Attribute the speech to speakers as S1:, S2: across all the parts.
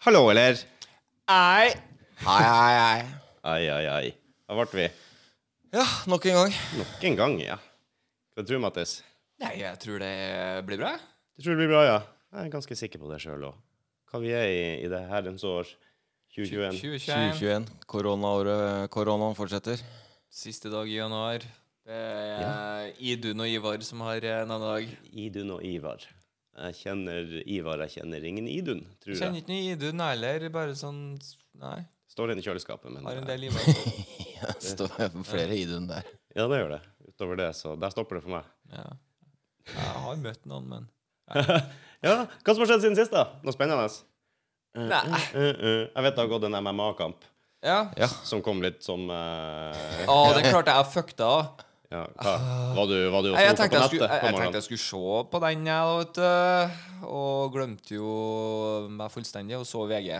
S1: Hallo, eller?
S2: Nei.
S3: Hei, hei, hei.
S1: Ai, ai, ai. Da ble vi
S3: Ja, nok en gang.
S1: nok en gang, ja. Hva tror du, Mattis?
S2: Nei, jeg tror det blir bra.
S1: Du tror det blir bra, ja? Jeg er ganske sikker på det sjøl òg. Hva vi er i, i det herrens år 2021.
S2: 2021.
S3: 2021. Koronaåret. Koronaen fortsetter.
S2: Siste dag i januar. Det er Idun og Ivar som har en annen dag.
S1: Idun og Ivar. Jeg kjenner Ivar, jeg kjenner ingen Idun, tror
S2: Kjenner
S1: jeg.
S2: ikke noe Idun heller. Bare sånn Nei.
S1: Står inne i kjøleskapet, men
S2: Har en
S1: eh,
S2: del Ivar.
S3: Ja, det står flere idun der.
S1: Ja, det gjør det. Utover det, så der stopper det for meg.
S2: Ja. Jeg har møtt noen, men
S1: Ja, Hva som har skjedd siden sist, da? Noe spennende?
S2: Nei.
S1: Eh, eh, Jeg vet det har gått en MMA-kamp
S2: Ja.
S3: Ja.
S1: som kom litt som eh,
S2: Å, den klarte jeg å fucka av.
S1: Ja, hva? Var du, var du og
S2: Ah. Nei, Jeg
S1: snoka
S2: tenkte jeg,
S1: på
S2: skulle, jeg, jeg tenkte
S1: nettet?
S2: jeg skulle se på den, jeg, vet du. Og glemte jo meg fullstendig og så VG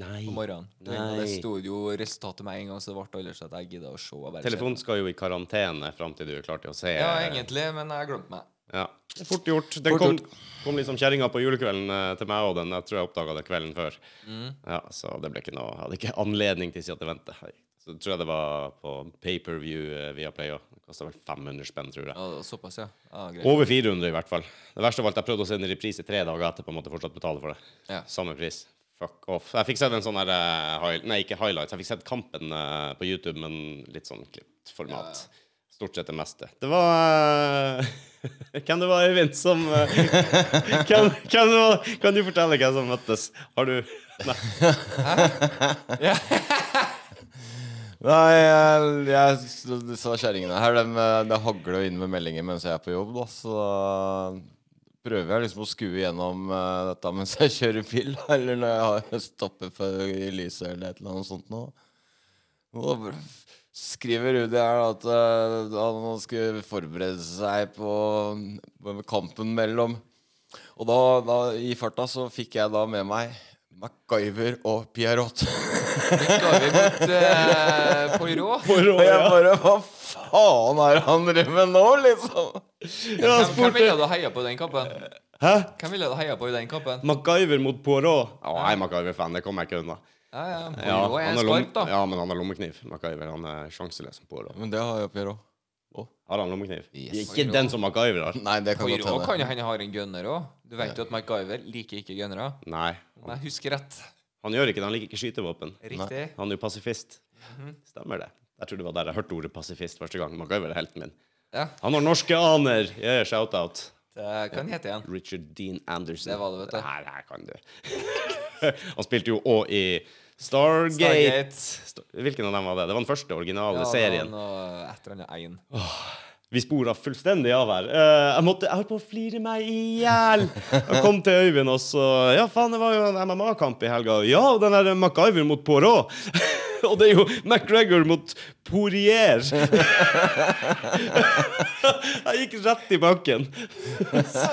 S1: Nei.
S2: på morgenen. Det-
S1: Nei.
S2: Det sto jo resultatet med en gang, så det ble aldri så at jeg gidda å se. Jeg bare
S1: Telefonen skal jo i karantene fram til du er klar til å se.
S2: Ja, egentlig, men jeg glemte meg.
S1: Ja. Det er Fort gjort. Den
S3: Fort
S1: kom, kom liksom kjerringa på julekvelden eh, til meg og den. Jeg tror jeg oppdaga det kvelden før.
S2: Mm.
S1: Ja, Så det ble ikke noe Hadde ikke anledning til å si at det venter. Hei. Så tror jeg det var på paperview eh, via Play òg. Det kosta vel 500 spenn, tror jeg.
S2: Ja, det var såpass, ja. ja greit.
S1: Over 400 i hvert fall. Det verste av alt, jeg prøvde å se en reprise tre dager etterpå, måtte fortsatt betale for det.
S2: Ja.
S1: Samme pris. Fuck off. Jeg fikk sett en sånn her eh, high- Nei, ikke highlights. Jeg fikk sett kampen eh, på YouTube, men litt sånn klippet format. Stort sett det meste. Det var eh, Hvem det var, Øyvind, som eh, hvem, hvem det var? Kan du fortelle hvem som møttes? Har du Nei.
S3: Nei, jeg, jeg s- sa kjerringene her de, Det hagler jo inn med meldinger mens jeg er på jobb, da, så da prøver jeg liksom å skue gjennom eh, dette mens jeg kjører bil, da, eller når jeg har stoppet for i lyset eller et eller annet sånt nå. Og da bare skriver Rudi her da, at eh, han skulle forberede seg på, på kampen mellom Og da, da i farta så fikk jeg da med meg MacGyver og Pierrot.
S2: Da har vi mot eh, Poirot.
S1: Poirot,
S3: Og jeg
S1: ja.
S3: bare Hva faen er det han driver med nå, liksom?
S1: Ja,
S2: Hvem, hvem
S1: spurte
S2: ville du heia på i den kampen?
S1: Hæ?
S2: Hvem ville du heia på i den kampen?
S1: MacGyver mot Poirot. Å, jeg er MacGyver-fan. Det kommer jeg ikke unna.
S2: Ja, ja.
S1: Ja,
S2: Poirot er
S1: han har
S2: skarp,
S1: lomme-
S2: da.
S1: ja, men han har lommekniv. MacGyver han er sjanseløs som Poirot.
S3: Men det har jo Pierrot.
S1: Har han lommekniv?
S3: Yes.
S1: Ikke den som MacGyver har.
S3: Nei, det kan godt
S2: Poirot
S3: hende.
S2: kan jo hende har en gunner òg. Du vet jo at MacGyver liker ikke gunnere.
S1: Nei.
S2: Om jeg husker rett.
S1: Han gjør ikke det. Han liker ikke skytevåpen.
S2: Riktig.
S1: Han er jo pasifist. Stemmer det. Jeg tror det var der jeg hørte ordet pasifist første gang. MacGyver er helten min.
S2: Ja.
S1: Han har norske aner. Yeah, shout-out.
S2: Det kan hete igjen.
S1: Richard Dean Anderson.
S2: Det var det, vet du.
S1: Her, her kan du. han spilte jo òg i Stargate.
S2: Stargate.
S1: Sta- Hvilken av dem var det? Det var den første originale
S2: Ja,
S1: serien.
S2: det var noe Et eller annet ein.
S1: Vi spora fullstendig av her. Eh, jeg måtte, jeg holdt på å flire meg i hjel. Jeg kom til Øyvind, og så Ja, faen, det var jo en MMA-kamp i helga. Ja, og den der MacGyver mot Poirot. og det er jo McGregor mot Poirier. jeg gikk rett i bakken.
S2: Så,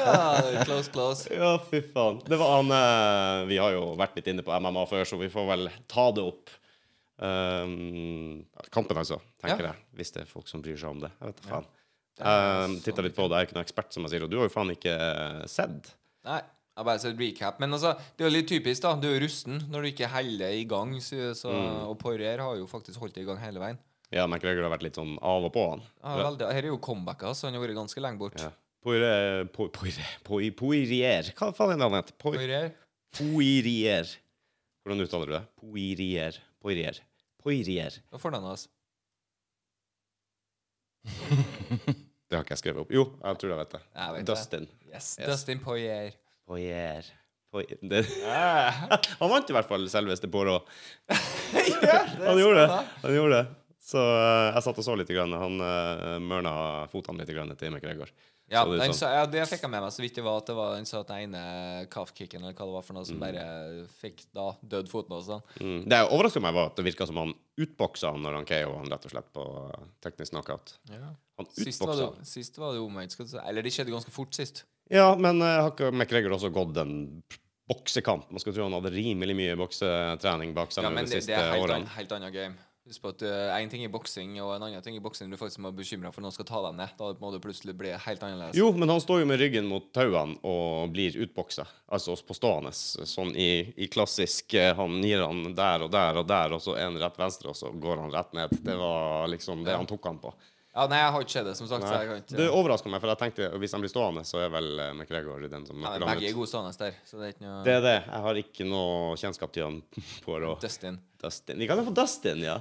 S2: Close, close.
S1: Ja, fy faen. Det var han eh, Vi har jo vært litt inne på MMA før, så vi får vel ta det opp. Um, kampen, altså, tenker
S2: Ja.
S1: jeg. Hvis det er folk som bryr seg om det. Jeg vet da faen.
S2: Det er
S1: Jeg Ehm, Um, titta litt på det, jeg er ikke noen ekspert, som jeg sier, og du har jo faen ikke eh, sett.
S2: Nei, jeg bare ser et recap. Men altså, det er jo litt typisk, da. Du er jo rusten når du ikke heller i gang. Så, så, Og Poirier har jo faktisk holdt det i gang hele veien.
S1: Ja, McGregor har vært litt sånn av og på, han.
S2: Ja, veldig, her er jo comebacket, så han har vært ganske lenge bort.
S1: Ja. Poirier po- Poirier Poi- Poirier Hva faen er det han heter? Poi-
S2: Poirier.
S1: Poirier. Hvordan uttaler du det? Poirier. Poirier. Poirier.
S2: Hva får den av oss?
S1: Det har ikke jeg skrevet opp. Jo, jeg tror jeg vet det.
S2: Jeg vet det.
S1: Dustin.
S2: Yes,
S1: Yes.
S2: Dustin Poirier.
S1: Poirier. Poi- det. Han vant i hvert fall selveste Poirot. Han gjorde det. Han gjorde det. Så eh, jeg satt og så litt. Grann. Han uh, mørna fotene litt grann til McGregor.
S2: Ja,
S1: Så det er
S2: den
S1: sånn.
S2: sa, ja, det fikk jeg med meg så vidt det var at det var den sa at den ene calf-kicken eller hva det var for noe som bare fikk da dødd foten og sånn.
S1: Mm. Det overraska meg, var at det virka som han utboksa han når han KO han rett og slett på eh, teknisk knockout. Han
S2: Sist var
S1: utboksa
S2: det
S1: han.
S2: sist var det jo omvendt. skal du si. Eller det skjedde ganske fort sist.
S1: Ja, men eh, har ikke McGregor også gått en boksekamp? Man skulle tro han hadde rimelig mye boksetrening bak
S2: Ja,
S1: seg nå
S2: men
S1: de
S2: det, det
S1: siste
S2: er helt, an,
S1: årene.
S2: helt annet game. Husk på at eh, en ting i boksing, og en annen ting i boksing du faktisk må være bekymra for noen skal ta deg ned. Da må du plutselig bli helt annerledes.
S1: Jo, men han står jo med ryggen mot tauene og blir utboksa. Altså på stående, sånn i, i klassisk eh, Han gir han der og der og der, og så en rett venstre, og så går han rett ned. Det var liksom det han tok han på.
S2: Ja, nei, jeg har ikke sett det, som sagt. Så jeg kan ikke
S1: Det overrasker meg, for jeg tenkte hvis han blir stående, så er vel eh, McGregor den som
S2: Nei,
S1: knocker
S2: men
S1: han
S2: Begge er
S1: ut.
S2: gode stående der, så det er ikke noe
S1: Det er det. Jeg har ikke noe kjennskap til han på råd.
S2: Dustin.
S1: Dustin. Vi kan jo få Dustin, ja.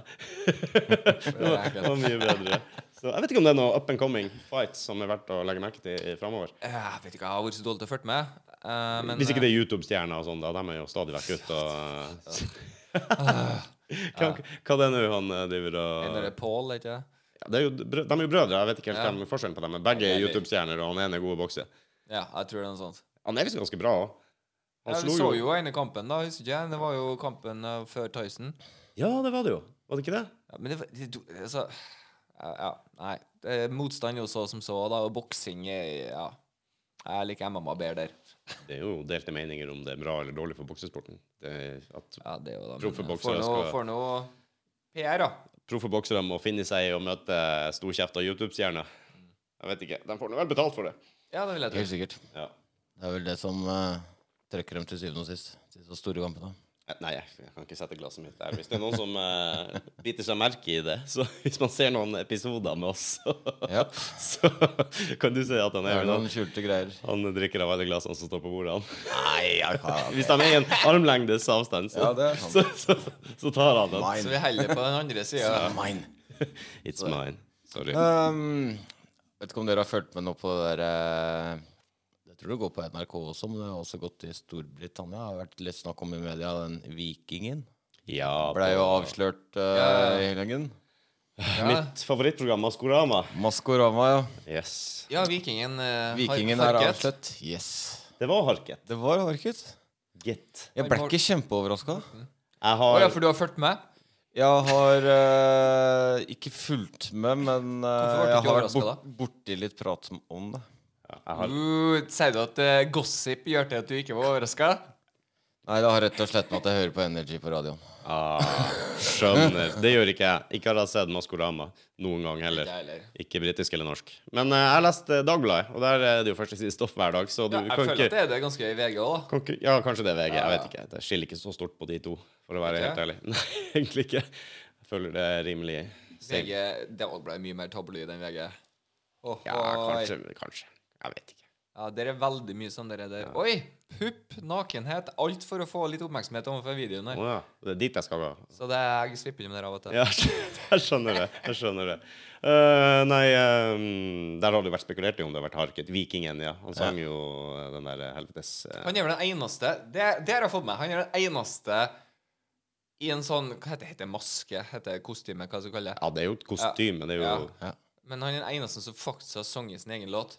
S2: Det er
S1: Det
S2: ekkelt.
S1: var mye bedre. Så jeg vet ikke om det er noe up and coming fight som er verdt å legge merke til framover.
S2: Jeg vet ikke, jeg har vært så dårlig til å følge med. eh, men,
S1: Hvis ikke det er YouTube-stjerner og sånn, da. De er jo stadig vekk ute og hva, hva det er nå han eh,
S2: eh,
S1: driver
S2: den
S1: og
S2: derre Paul, er ikke det?
S1: ja, det er jo, brø- De er jo brødre, jeg vet ikke helt
S2: Ja.
S1: hvem forskjellen på dem er. Begge er
S2: Nei, det-
S1: YouTube-stjerner, og han ene er god i bokse.
S2: Ja, jeg tror det er noe sånt.
S1: Han er visst ganske bra òg. Han
S2: Ja, vi så
S1: slo jo
S2: jo ene kampen, da, husker ikke jeg? Det var jo kampen eh, før Tyson.
S1: Ja, det var det jo. Var det ikke det?
S2: Ja, men det, var- det to- altså ja, ja, nei. Det er motstand jo så som så, da, og boksing er Ja. Jeg liker MMA bedre der.
S1: Det er jo delte meninger om det er bra eller dårlig for boksesporten. Det er At
S2: Ja, det er jo da men,
S1: Proffe
S2: eh,
S1: boksere
S2: får
S1: skal-
S2: noe- Får noe PR, da.
S1: proffe boksere må finne seg i å møte eh, storkjefta YouTube-stjerner. Jeg vet ikke. De får nå vel betalt for det.
S2: Ja, det vil jeg tro.
S3: Helt sikkert.
S1: Ja.
S3: Det er vel det som eh, trekker dem til syvende og sist. Til de store kampene.
S1: Eh, Nei, jeg, jeg kan ikke sette glasset mitt der. Hvis det er noen som eh, biter seg merke i det, så hvis man ser noen episoder med oss, så,
S3: Ja.
S1: så kan du se at han
S3: Det
S1: er
S3: er
S1: noen
S3: noen skjulte greier.
S1: han drikker av alle glassene som står på bordet. han.
S3: Nei, jeg kan
S1: Hvis de er i en armlengdes avstand, så,
S3: Ja, det er sant.
S1: så, så, så tar han den.
S3: Mine.
S2: Så vi heller på den andre sida.
S3: Mine.
S1: It's mine. Sorry.
S3: Um, vet ikke om dere har fulgt med nå på det der eh, Jeg tror det går på NRK også, men det har også gått i Storbritannia. Det har vært litt snakk om i media den vikingen.
S1: Ja,
S3: Blei jo
S1: på-
S3: avslørt
S2: Ja,
S3: eh,
S2: ja.
S3: i helgen.
S1: Mitt favorittprogram, Maskorama.
S3: Maskorama, ja.
S1: Yes.
S2: Ja, vikingen eh, har-
S3: Vikingen
S2: har
S3: er
S2: gett.
S3: avslørt. Yes.
S1: Det var harket.
S3: Det var harket.
S1: Gitt.
S3: Jeg ble ikke kjempeoverraska.
S1: Jeg
S2: Å
S1: har
S2: ja, for du har fulgt med?
S3: Jeg har eh, ikke fulgt med, men eh,
S2: Hvorfor ble du
S3: jeg har vært
S2: overrasket
S3: bort, borti litt prat om- om det.
S1: Jeg har
S2: Uh, Sier du at eh, gossip gjør til at du ikke var overraska?
S3: Nei, det har rett og slett med at jeg hører på Energy på radioen.
S1: Ah, skjønner. Det gjør ikke jeg. Ikke har jeg sett Maskorama noen gang heller.
S2: heller.
S1: Ikke britisk eller norsk. Men eh, jeg har lest eh, Dagbladet, og der er det jo første side stoff hver dag, så du
S2: Ja, jeg
S1: kan
S2: føler at
S1: ikke
S2: det er det ganske i VG òg, da.
S1: kan ikke- ja, kanskje det er VG. Jeg
S2: Ja,
S1: vet
S2: ja.
S1: ikke. Det skiller ikke så stort på de to, for å være
S2: Ikke?
S1: helt ærlig. Nei, egentlig ikke. Jeg føler det er rimelig stille.
S2: VG, det ble mye mer tabloid enn VG. Oh,
S1: Ja, kanskje. Kanskje. Jeg vet ikke.
S2: Ja, der er veldig mye sånn der. der. Oi! Pupp, nakenhet. Alt for å få litt oppmerksomhet overfor videoen
S1: Å
S2: her.
S1: ja. Det er dit jeg skal gå.
S2: Så det er, jeg slipper innom der av og til.
S1: Ja, jeg skjønner det. Jeg skjønner det. Eh, nei, eh, der har det jo vært spekulert i om det har vært harket. Vikingen, ja. Han sang jo eh, den der eh, helvetes eh,
S2: Han er vel den eneste Det, det har jeg fått med. Han er den eneste i en sånn Hva heter det? Heter det maske? Heter det kostyme? Hva skal du kalle det?
S1: Ja, det er jo et kostyme. Det er jo Å
S2: Ja. Men han er den eneste som faktisk har sunget sin egen låt.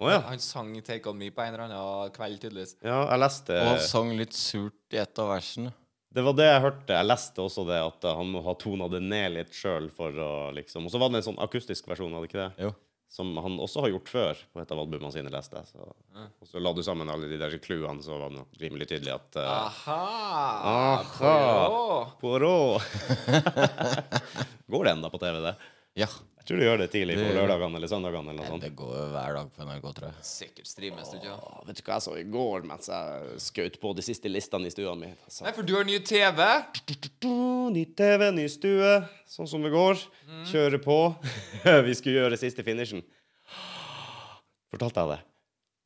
S1: ja.
S2: Han sang 'Take On Me' på en eller annen kveld, tydeligvis.
S1: ja. Jeg leste
S3: Og han sang litt surt i et av versene.
S1: Det var det jeg hørte. Jeg leste også det at eh, han må ha tona det ned litt sjøl for å liksom Og så var det en sånn akustisk versjon, hadde ikke det?
S3: Jo.
S1: Som han også har gjort før på et av albumene sine, leste jeg. Så. Og så la du sammen alle de der clouene, så var det nok rimelig tydelig at eh,
S2: Ah. Aha!
S1: Aha.
S2: Poirot.
S1: Poirot. Går det ennå på TV, det?
S3: Ja.
S1: Jeg tror du gjør det tidlig på
S3: Det-
S1: lørdagene eller søndagene eller noe sånt.
S3: Det går jo hver dag på NRK, tror jeg.
S2: Sikkert streames det ikke.
S1: Å, vet du hva jeg så i går mens jeg skjøt på de siste listene i stua mi? Jeg sa,
S2: Nei, for du har ny TV.
S1: Ny TV, ny stue, sånn som det går. Kjøre på. Vi skulle gjøre siste finishen. Fortalte jeg det?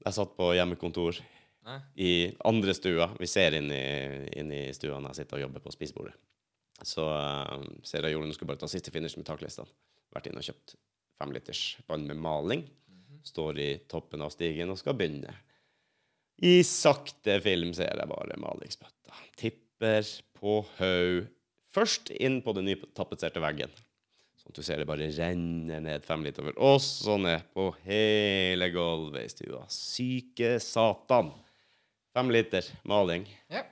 S1: Jeg satt på hjemmekontor
S2: Nei.
S1: i andre stua. Vi ser inn i, inn i stua når jeg sitter og jobber på spisebordet. Så eh, ser jeg Jorunn skulle bare ta siste finish med taklistene. Vært inne og kjøpt femliters vann med maling. Står i toppen av stigen og skal begynne. I sakte film ser jeg bare malingsbøtta. Tipper på haug. Først inn på den nytapetserte veggen. Sånn at du ser det bare renner ned fem liter over. Og så ned på hele gulvet i stua. Syke satan. Fem liter maling.
S2: Ja.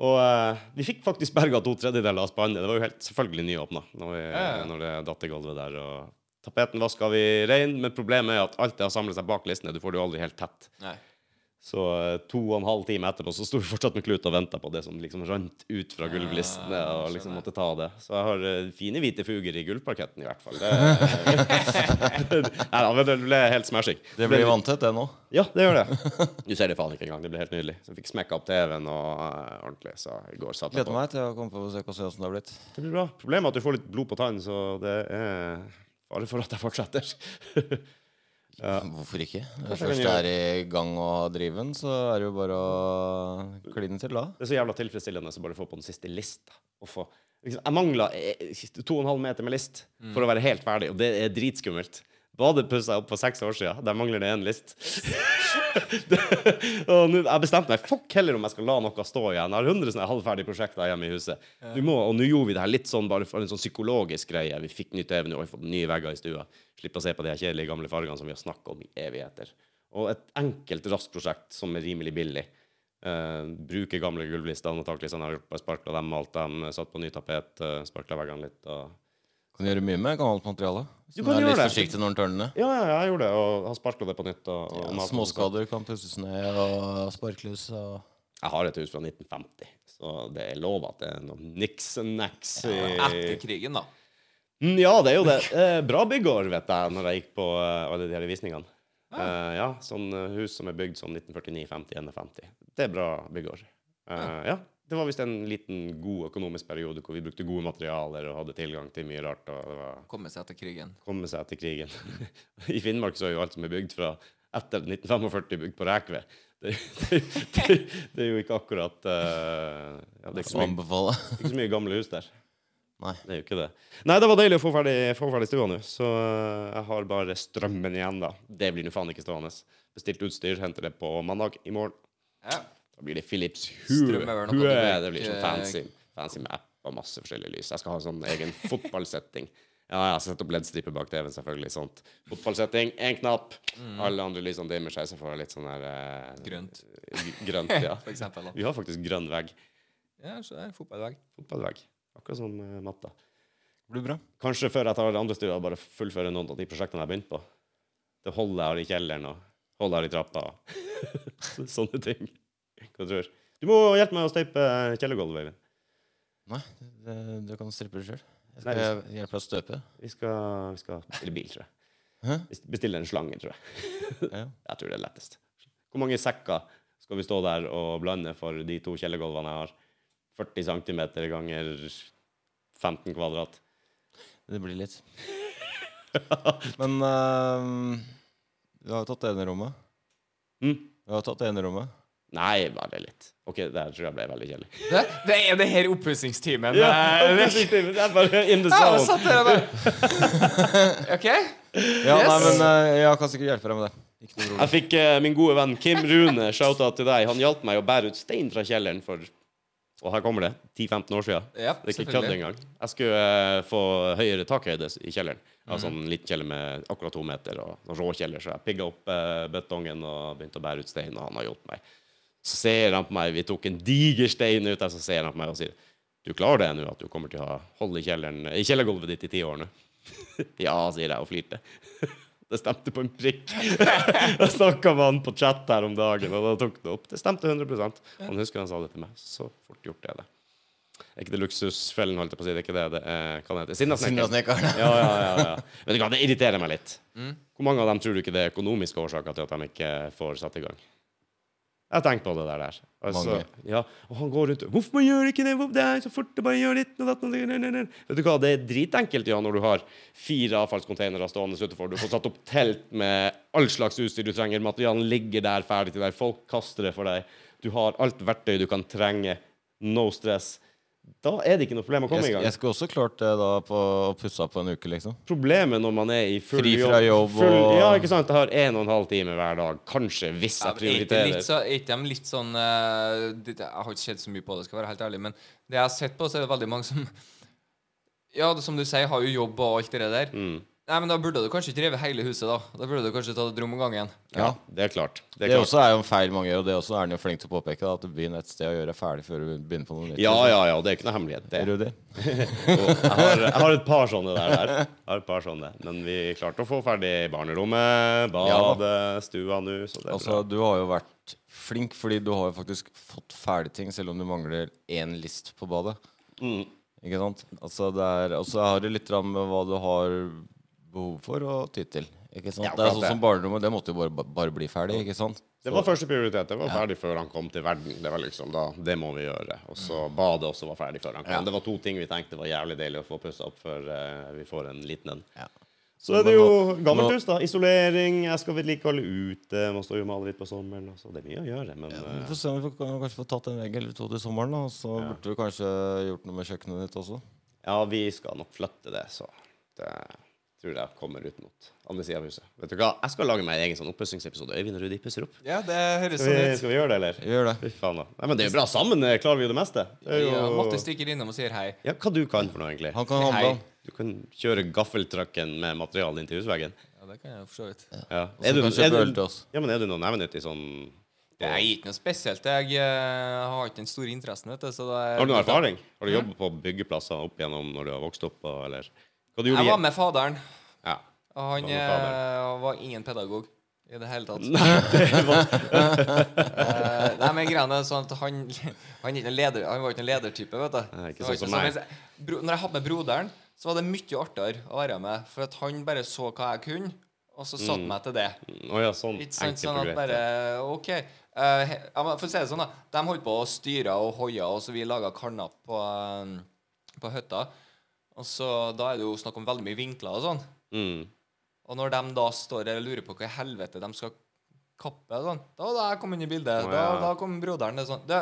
S1: Og eh, vi fikk faktisk berga to tredjedeler av spannet. Det var jo helt selvfølgelig nyåpna når, vi-
S2: Ja.
S1: når det datt i gulvet der. Og tapeten vaska vi rein, men problemet er at alt det har samla seg bak listene. Du får det jo aldri helt tett.
S2: Nei.
S1: Så eh, to og en halv time etterpå så sto vi fortsatt med klut og venta på det som liksom rant ut fra gulvlistene. Og liksom måtte ta det Så jeg har eh, fine hvite fuger i gulvparketten, i hvert fall. Det, Nei, da, men det ble helt smashing.
S3: Det blir vanntett, det nå.
S1: Ja, det gjør det. Du ser det faen ikke engang. Det ble helt nydelig. Så jeg fikk smekka opp TV-en og eh, ordentlig. Så i går satt jeg
S3: Gleder
S1: på.
S3: meg til å komme på besøk og se åssen det har blitt.
S1: Det blir bra. Problemet er at du får litt blod på tann, så det er fare for at jeg fortsetter.
S3: Hvorfor ikke?
S1: Kanskje
S3: Når du
S1: jeg
S3: først
S1: kan
S3: er i gang og har driven, så er det jo bare å kline til da.
S1: Det er så jævla tilfredsstillende å bare få på den siste lista. Og få, liksom, jeg mangla to og en halv meter med list for å være helt ferdig, og det er dritskummelt. Badet pussa jeg opp for seks år siden. Der mangler det én list. det, og nå- jeg bestemte meg fuck heller om jeg skal la noe stå igjen. Jeg har 100 sånne halvferdige prosjekter hjemme i huset. Du må, og nå gjorde vi det her litt sånn bare for en sånn psykologisk greie. Vi fikk ny TV nå, og vi har fått nye vegger i stua. Slipp å se på de her kjedelige gamle fargene som vi har snakka om i evigheter. Og et enkelt, raskt prosjekt som er rimelig billig. Eh, bruke gamle gulvlister, antakelig sånn jeg har gjort. Bare sparkla dem, malt dem, eh, satt på ny tapet, uh, sparkla veggene litt. Og...
S3: Kan gjøre mye med gammelt materiale.
S1: Du
S3: Så
S1: kan
S3: vær litt
S1: gjøre det.
S3: forsiktig når den tørner.
S1: Ja, ja, jeg gjorde det, og har sparkla det på nytt. Og, og sånn.
S3: Ja,
S1: malt dem.
S3: Småskader kan pusses ned, og sparklys og
S1: Jeg har et hus fra 1950, så det er lov at det er noe niks-nacks i
S2: Etter krigen, da.
S1: Mm, Ja, det er jo det. Eh, bra byggår, vet jeg, når jeg gikk på eh, alle de her visningene. Eh, ja, sånn eh, hus som er bygd som 1949, 50, 51. Det er bra byggår. Eh, ja. Det var visst en liten god økonomisk periode hvor vi brukte gode materialer og hadde tilgang til mye rart. og det var
S2: Komme seg etter krigen.
S1: komme seg etter krigen. I Finnmark så er jo alt som er bygd fra etter 1945, bygd på rekve. Det, det, det, det er jo ikke akkurat eh, ja, det, er ikke
S3: Som
S1: så mye,
S3: anbefaler.
S1: det er ikke så mye gamle hus der.
S3: Nei.
S1: Det er jo ikke det. Nei, det var deilig å få ferdig, få ferdig stua nå, så eh, jeg har bare strømmen igjen, da. Det blir nå faen ikke stående. Bestilt utstyr, henter det på mandag i morgen.
S2: Ja.
S1: Da blir det Philips Hue.
S2: Strøm er vel noe
S1: Hue.
S2: du
S1: Det blir sånn
S2: ikke-
S1: fancy, fancy med app og masse forskjellige lys. Jeg skal ha en sånn egen fotballsetting. Ja, jeg har satt opp LED-striper bak TV-en, selvfølgelig. sånt. Fotballsetting, én knapp.
S2: Mm.
S1: Alle andre lysene dimmer seg, så får jeg litt sånn her eh,
S2: Grønt,
S1: gr- grønt. ja.
S2: for eksempel. Da.
S1: Vi har faktisk grønn vegg.
S2: Ja, så er det fotballvegg.
S1: Fotballvegg. Akkurat som eh, matta.
S3: Det blir bra.
S1: Kanskje før jeg tar det andre studiet, bare fullføre noen av de prosjektene jeg har begynt på. Det holder jeg har i kjelleren, og holder jeg har i trappa, og sånne ting. Hva tror du? Du må hjelpe meg å støype eh, kjellergulvet, Øyvind.
S3: Nei, det, det kan du strippe sjøl. Jeg
S1: Nei,
S3: skal
S1: det-
S3: hjelpe deg å støpe.
S1: Vi skal, vi skal bestille bil, tror jeg.
S3: Hæ?
S1: Best- Bestille en slange, tror jeg.
S3: Ja.
S1: Jeg tror det er lettest. Hvor mange sekker skal vi stå der og blande for de to kjellergulvene jeg har? 40 cm ganger 15 kvadrat.
S3: Det blir litt. Men eh, du har jo tatt det ene rommet.
S1: Mm.
S3: Du har jo tatt det ene rommet.
S1: Nei, bare litt. OK, det her tror jeg ble veldig kjedelig.
S2: Det, det er det her oppussingstimen.
S1: Ja,
S2: eh, det-
S1: det er bare in the
S2: Ja, og
S1: zone.
S2: satt der og bare OK?
S3: Ja,
S2: Yes.
S3: nei, men eh, jeg kan sikkert hjelpe deg med det. Ikke noe problem.
S1: Jeg fikk eh, min gode venn Kim Rune, shout-out til deg. Han hjalp meg å bære ut stein fra kjelleren for Og her kommer det. 10-15 år siden.
S2: Ja,
S1: Det er ikke kødd
S2: selvfølgelig.
S1: engang. Jeg skulle eh, få høyere takhøyde s- i kjelleren. Jeg har sånn liten kjeller med akkurat to meter og sånn råkjeller, så jeg pigga opp eh, betongen og begynte å bære ut stein, og han har hjulpet meg. Så ser han på meg, vi tok en diger stein ut der, så ser han på meg og sier Du klarer det nå, at du kommer til å ha hold i kjelleren I kjellergulvet ditt i ti år nå? ja, sier jeg og flirte. Det stemte på en prikk. Jeg snakka med han på chat her om dagen, og da tok det opp. Det stemte 100 Han husker han sa det til meg. Så fort gjort er det. Er ikke det luksusfellen, holdt jeg på å si? Det er ikke det det er Hva heter det? Sinnasnekkeren.
S3: Sinnasnekkeren.
S1: Ja, ja, ja, ja. Vet du hva, det irriterer meg litt.
S3: Mm.
S1: Hvor mange av dem tror du ikke det er økonomiske årsaker til at de ikke får satt i gang? Jeg tenkte på det der. der. Altså,
S3: Mange.
S1: ja, og han går rundt og 'Hvorfor man gjør ikke det? Hvorfor det er så fort det bare gjør litt og datt og det- det- det- det». Vet du hva, Det er dritenkelt ja, når du har fire avfallskonteinere stående utenfor. Du får satt opp telt med all slags utstyr du trenger. Materialen ligger der ferdig til deg. Folk kaster det for deg. Du har alt verktøy du kan trenge. No stress. Da er det ikke noe problem å komme i
S3: Jeg,
S1: gang.
S3: jeg skulle også klart det da på å pusse opp på en uke, liksom.
S1: Problemet når man er i full
S3: Fri fra jobb
S1: full,
S3: og-
S1: Ja, ikke sant? Jeg har en og en halv time hver dag. Kanskje, hvis
S2: Ja,
S1: jeg
S2: men er ikke
S1: prioriterer.
S2: litt så- er ikke de litt sånn eh, det, Jeg har ikke sett så mye på det, skal være helt ærlig, men det
S1: Mm.
S2: jeg har sett på, så er det veldig mange som Ja, det- som du sier, har jo jobb og alt det der. Nei, men Da burde du kanskje ikke revet hele huset, da. Da burde du kanskje tatt et rom om gangen.
S3: Ja.
S1: Det er klart. Det
S3: Det
S1: er klart.
S3: også er jo en feil mange gjør, og det også er han jo flink til å påpeke. Da, at det begynner et sted å gjøre ferdig før du begynner på noe nytt.
S1: Ja, ja, ja. Det er ikke noe hemmelighet. Det.
S3: Rudi.
S1: Og Jeg, har, jeg har et par sånne der. der. Jeg har et par sånne. Men vi klarte å få ferdig barnerommet,
S3: Ja
S1: badet, stua nå. Så det er
S3: Altså, du har jo vært flink, fordi du har jo faktisk fått ferdig ting, selv om du mangler én list på badet.
S1: Mm.
S3: Ikke sant? Altså, det er, og så har det litt grann med hva du har behov for og tid til. Ikke sant?
S1: Ja,
S3: det er
S1: klart
S3: sånn
S1: det.
S3: som barnerommet, det måtte jo bare, bare bli ferdig, ikke sant?
S1: Det var første prioritet. Det var ferdig før han kom til verden. Det var liksom da, det må vi gjøre. Og så badet også var ferdig før han kom. Det var to ting vi tenkte var jævlig deilig å få pussa opp før eh, vi får en liten en.
S3: Ja.
S1: Så er det
S3: Men
S1: jo
S3: nå-
S1: gammelt
S3: nå-
S1: hus, da. Isolering, jeg skal vedlikeholde ute, må stå og male litt på sommeren. og Så det er mye å gjøre, men
S3: Vi
S1: eh,
S3: får se om vi får- kan kanskje få tatt en vegg eller to til sommeren, da. og Så burde vi kanskje gjort noe med kjøkkenet ditt også.
S1: ja, vi skal nok flytte det, så det tror jeg kommer ut mot andre sida av huset. Vet du hva, jeg skal lage meg en egen sånn oppussingsepisode. Øyvind og Rudi pusser opp.
S2: Ja, det høres
S1: Skal vi,
S2: sånn ut.
S1: skal vi gjøre det, eller?
S3: Gjør det.
S1: Fy faen, da. Nei, men det er jo bra. Sammen eh, klarer vi jo det meste. Det er jo...
S2: Ja, Matte stikker innom og sier hei.
S1: Ja, hva du kan for noe, egentlig?
S3: Han kan
S2: Hei.
S3: handle om.
S1: Du kan kjøre gaffeltrucken med materiale inn til husveggen.
S2: Ja, det kan jeg for så vidt.
S1: Ja.
S3: så kan du kjøpe øl til oss.
S1: Ja, men er du noe nevnenyttig sånn
S2: Det er ikke noe spesielt. Jeg eh, har ikke den store interessen, vet du. Så det er
S1: Har du noe erfaring? Har du jobbet på byggeplasser opp igjennom når du har vokst opp, og- eller Hva du gjorde
S2: Jeg var
S1: i-
S2: med faderen,
S1: Ja.
S2: og han
S1: Var med faderen.
S2: eh, var ingen pedagog i det hele tatt.
S1: Det var-
S2: Eh, nei, men greiene er sånn at han Han, er ikke noen leder, han var ikke noen ledertype, vet du.
S1: Nei, ikke
S2: Det var
S1: sånn som
S2: sånn,
S1: meg.
S2: mens jeg- bro, Når jeg hadde med broderen, så var det mye artigere å være med, for at han bare så hva jeg kunne, og så
S1: Mm.
S2: satte meg til det.
S1: Å ja, sånn.
S2: Ikke sant,
S1: Enkelt
S2: sånn
S1: og
S2: at
S1: greit.
S2: bare OK. eh, he- ja, men for å si det sånn, da. De holdt på å styre og hoia, og så vi laga karnapp på, eh, på hytta. Og så Da er det jo snakk om veldig mye vinkler og sånn.
S1: Mm.
S2: Og når de da står der og lurer på hva i helvete de skal kappe og sånn, Da var da jeg kom inn i bildet.
S1: Å,
S2: Da,
S1: ja.
S2: da kom broderen og sånn Du,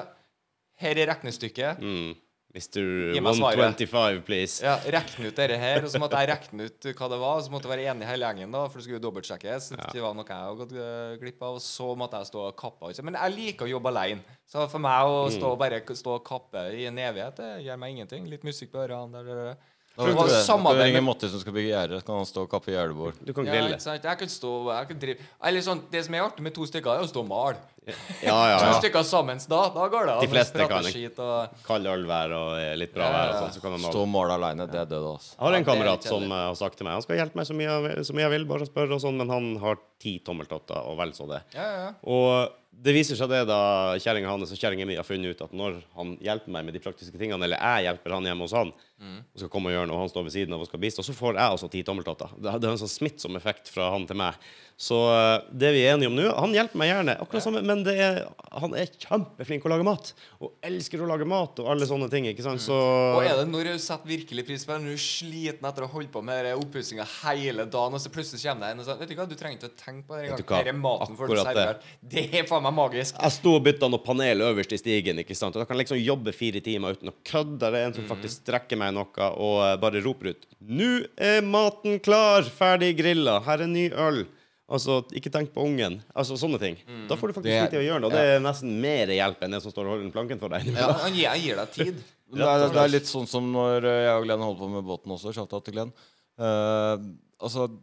S2: her er regnestykket.
S1: Mm. Mr.
S2: Gi meg svaret.
S1: 125, please.
S2: Ja, Rekne ut dette her. Og så måtte jeg rekne ut hva det var. Og så måtte jeg være enig i hele gjengen, da, for det skulle jo dobbeltsjekkes.
S1: Ja.
S2: Det var noe jeg hadde gått eh, glipp av. Og så måtte jeg stå og kappe. altså. Men jeg liker å jobbe alene. Så for meg å
S1: Mm.
S2: stå, bare k- stå og kappe i en evighet, det gjør meg ingenting. Litt musikk på ørene der, der, der.
S3: Da
S2: Det
S3: vet
S2: var
S3: du det.
S2: samarbeid
S3: Du
S2: med-
S3: ringer Matti som skal bygge gjerde, så kan han stå og kappe gjerdebord.
S1: Du kan
S2: Ja,
S1: grille.
S2: ikke sant? Jeg kan stå jeg kan drive. Eller sånn, Det som er artig med to stykker, er å stå og male.
S1: Ja,
S2: To
S1: ja. ja.
S2: stykker sammen, da, da går det an.
S1: De fleste
S2: Prate
S1: kan ikke.
S2: skit og-
S1: Kald ølvær og eh, litt bra
S2: Ja,
S1: vær
S2: ja,
S1: og
S2: ja.
S1: sånn, så kan man
S3: Stå og male aleine, det er død, altså.
S1: Jeg har
S2: Ja, det er
S1: en
S2: litt
S1: kamerat som
S2: kjedelig.
S1: eh, har sagt til meg Han skal hjelpe meg så mye jeg vil, så mye jeg vil bare spørre og sånn, men han har ti tommeltotter og vel så det.
S2: Ja, ja, ja.
S1: Og det viser seg det da kjerringa hans og kjerringa mi har funnet ut at når han hjelper meg med de praktiske tingene, eller jeg hjelper han hjemme hos han,
S2: Mm.
S1: og skal komme og gjøre noe, og han står ved siden av og skal bistå, så får jeg også ti tommeltotter. Det det har en sånn smittsom effekt fra han til meg. Så eh, det vi er enige om nå Han hjelper meg gjerne, akkurat samme, men det er, han er kjempeflink å lage mat. Og elsker å lage mat og alle sånne ting, ikke sant? Så
S2: Mm. Og er det når du setter virkelig pris på det, når du er sliten etter å holde på med oppussinga hele dagen, og så plutselig kommer det en og sier Vet du hva, du trenger ikke å tenke på det
S1: Vet du
S2: engang.
S1: hva?
S2: Dette er maten før du
S1: Akkurat det.
S2: serverer. Det er faen meg magisk.
S1: Jeg sto og bytta noe panel øverst i stigen. ikke sant? Og Jeg kan liksom jobbe fire timer uten å kødde. Det er en som
S3: Mhm.
S1: faktisk strekker meg noe og eh, bare roper ut 'Nå er maten klar! Ferdig grilla! Her er ny øl!' Altså, ikke tenk på ungen. Altså, Sånne ting. Da får du faktisk
S3: Mhm. Det
S1: tid
S3: er-
S1: til å gjøre noe. Det er nesten mer hjelp enn den som står og holder den planken for deg.
S2: Ja, han gir, jeg gir deg tid.
S3: Men Det er, det er litt sånn som når eh, jeg og Glenn holder på med båten også. Shout out til Glenn. Eh, altså,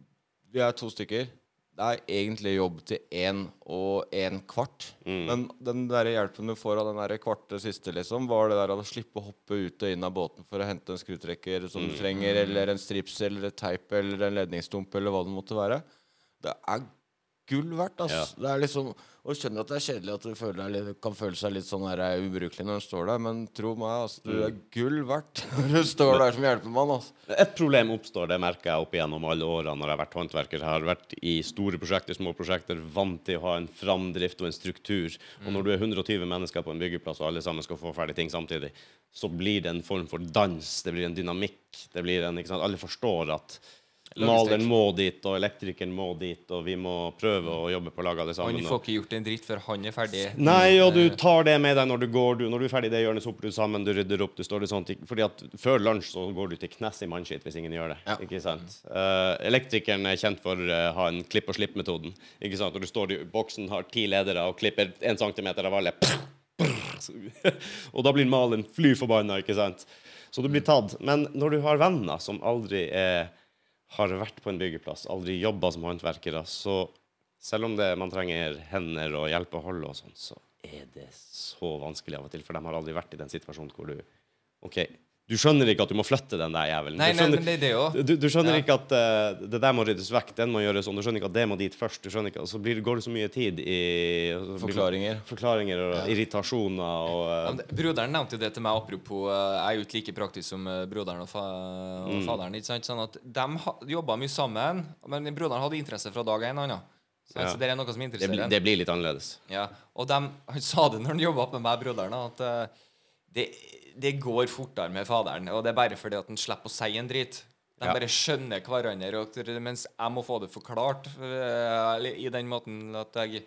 S3: vi er to stykker. Det er egentlig jobb til én og en kvart. Men den der hjelpen du får av den der kvarte siste, liksom, var det der å slippe å hoppe ut og inn av båten for å hente en skrutrekker som du trenger, eller en strips eller et teip eller en ledningsdump eller hva det måtte være. Det er gull verdt. ass. Det er liksom, og skjønner at det er kjedelig at du føler deg litt, kan føle seg litt sånn her, eh, ubrukelig når du står der, men tro meg, ass, du er gull verdt når du står der som hjelpemann. ass.
S1: Et problem oppstår, det merker jeg opp igjennom alle årene når jeg har vært håndverker. Jeg har vært i store prosjekter, små prosjekter, vant til å ha en framdrift og en struktur. Og når du er 120 mennesker på en byggeplass, og alle sammen skal få ferdig ting samtidig, så blir det en form for dans, det blir en dynamikk. det blir en, ikke sant, Alle forstår at maleren må dit, og elektrikeren må dit, og vi må prøve å jobbe på lag alle
S2: Han
S1: sammen.
S2: får ikke gjort en dritt før han er ferdig.
S1: Nei, og du tar det med deg når du går. Du, når du er ferdig i det hjørnet, så hopper du sammen, du rydder opp. du står det sånt. Fordi at Før lunsj så går du til knes i mannskitt hvis ingen gjør det. Ikke sant? Eh, elektrikeren er kjent for eh, å ha en klipp-og-slipp-metoden. Ikke sant? Når du står i boksen, har ti ledere og klipper én centimeter av alle. og da blir malen fly forbanna, ikke sant? Så du blir tatt. Men når du har venner som aldri er har vært på en byggeplass, aldri jobba som håndverkere, så selv om det, man trenger hender og hjelp og hold og sånn, så er det så vanskelig av og til, for de har aldri vært i den situasjonen hvor du OK, du skjønner ikke at du må flytte den der jævelen.
S2: Nei,
S1: du
S2: nei,
S1: skjønner,
S2: men det er det jo.
S1: du, du skjønner
S2: Ja.
S1: ikke at eh, det der må ryddes vekk, den må gjøres sånn. Du skjønner ikke at det må dit først. Du skjønner ikke, og så blir, går det så mye tid i og så blir-
S3: Forklaringer.
S1: Forklaringer og irritasjoner og eh,
S2: Ja, men det- Broderen nevnte jo det til meg, apropos eh, Jeg er jo ikke like praktisk som eh, broderen og, fa og
S1: Mm.
S2: faderen. Ikke sant? Sånn at De ha- jobba mye sammen, men broderen hadde interesse fra dag én. han, da. Så
S1: Ja.
S2: så det er noe som
S1: det,
S2: interesserer
S1: blir-
S2: ham.
S1: det blir litt annerledes.
S2: Ja. Og dem- han sa det når han jobba med meg, broderen, da, at eh, det, det går fortere med faderen. Og det er bare fordi at han slipper å si en drit. De
S1: Ja.
S2: bare skjønner hverandre, og, mens jeg må få det forklart eh, eller i den måten at jeg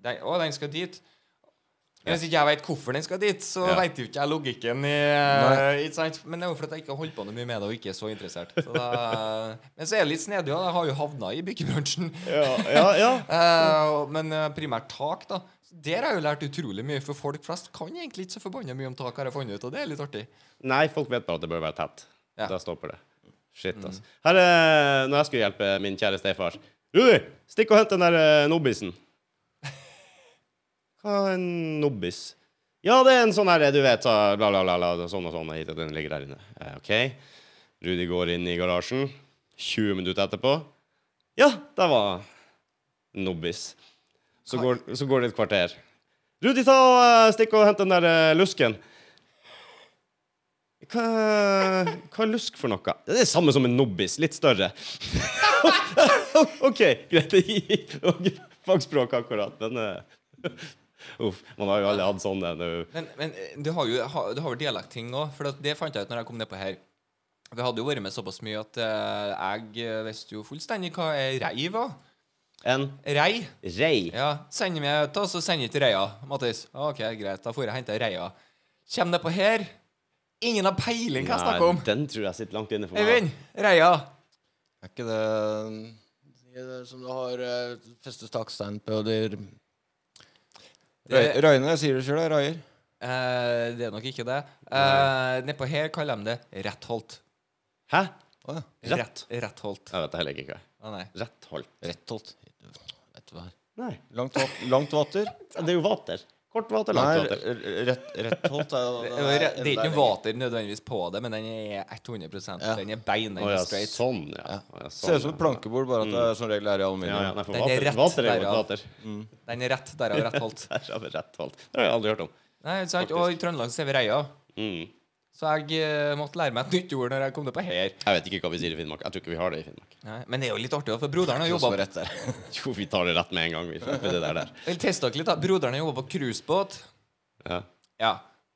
S2: den, Å, den skal dit. Men Hvis ikke jeg veit hvorfor den skal dit, så
S1: Ja.
S2: vet jo ikke jeg logikken. i eh, ikke sant? Men det er jo fordi jeg ikke har holdt på noe mye med det og ikke er så interessert. Så da, men så er det litt snedig, og jeg har jo havna i byggebransjen.
S1: Ja, ja, ja.
S2: Eh, og- men eh, primært tak, da. Der har jeg jo lært utrolig mye, for folk flest kan egentlig ikke så forbanna mye om tak, har jeg funnet ut, og det er litt artig.
S1: Nei, folk vet bare at det bør være tett.
S2: Ja.
S1: Da stopper det. Shit, altså. Her er Når jeg skulle hjelpe min kjære stefar Rudi, stikk og hent den der eh, nobbisen. Hva er en nobbis? Ja, det er en sånn her, du vet, så bla, bla, bla, bla sånn og sånn, og hit, og den ligger der inne. Eh, OK. Rudi går inn i garasjen. 20 minutter etterpå Ja, der var nobbis. Så går, så går det et kvarter. Rudi, ta og eh, stikk og hent den der eh, lusken. Hva, hva er lusk for noe? Det er det samme som en nobbis, litt større. OK, greit. det gir- og Fagspråk akkurat, men eh, Uff. Man har jo alle hatt sånn sånne nå.
S2: Men, men eh, det har jo ha- det har jo dialektting òg, for at det fant jeg ut når jeg kom nedpå her. Vi hadde jo vært med såpass mye at eh, jeg eh, visste jo fullstendig hva ei rei var.
S1: En
S2: Rei.
S1: rei.
S2: Ja, send meg ta så send jeg til reia, Mattis. Ok, greit, da får jeg hente reia. Kjem det på her? Ingen har peiling hva jeg snakker om.
S1: Nei, den tror jeg sitter langt inne for meg.
S2: Øyvind, reia.
S3: Er ikke det det som du har uh, festet takstein på dyr
S2: Det-
S3: Røyne, jeg sier det sjøl, raier.
S2: Eh, det er nok ikke det. Eh, Nedpå her kaller de det rettholdt.
S1: Hæ?
S3: Å ja.
S1: Rett?
S2: Rettholdt.
S1: Jeg vet heller ikke hva.
S2: Å nei.
S1: Retthold.
S3: Rettholt. Vet du hva.
S1: Nei.
S3: Langt, va- langt vater?
S1: Det er jo vater. Kort vater,
S3: Nei,
S1: langt
S3: r-
S1: vater.
S3: r- rett, rettholt er jo
S2: Det er jo re- det er ikke noe vater nødvendigvis på det, men den er 100
S3: Ja.
S2: Den er bein, den
S1: Å
S2: er
S1: ja,
S2: straight.
S1: sånn, ja. Å, ja, sånn,
S3: Ser ut som
S1: ja.
S3: et plankebord, bare at det er som regel er i aluminium.
S1: Ja, ja, nei, for
S2: Den er
S1: vater,
S2: rett
S1: vater er jo et
S2: derav.
S1: vater.
S2: Den er rett, derav rettholdt.
S1: Der har vi retthold. Det har jeg aldri hørt om.
S2: Nei, ikke sant? Og i Trøndelag ser vi reia.
S1: Mm.
S2: Så jeg eh, måtte lære meg et nytt ord når jeg kom det på her.
S1: Jeg vet ikke hva vi sier i Finnmark. Jeg tror ikke vi har det i Finnmark.
S2: Nei, men det er jo litt artig, da, for broderen har
S3: Noe som
S2: jobba
S3: er rett der.
S1: Jo, vi tar det rett med en gang. Vi slipper det der. der.
S2: Vel, test dere litt, da. Broderen har jobba på cruisebåt.
S1: Ja.
S2: Ja.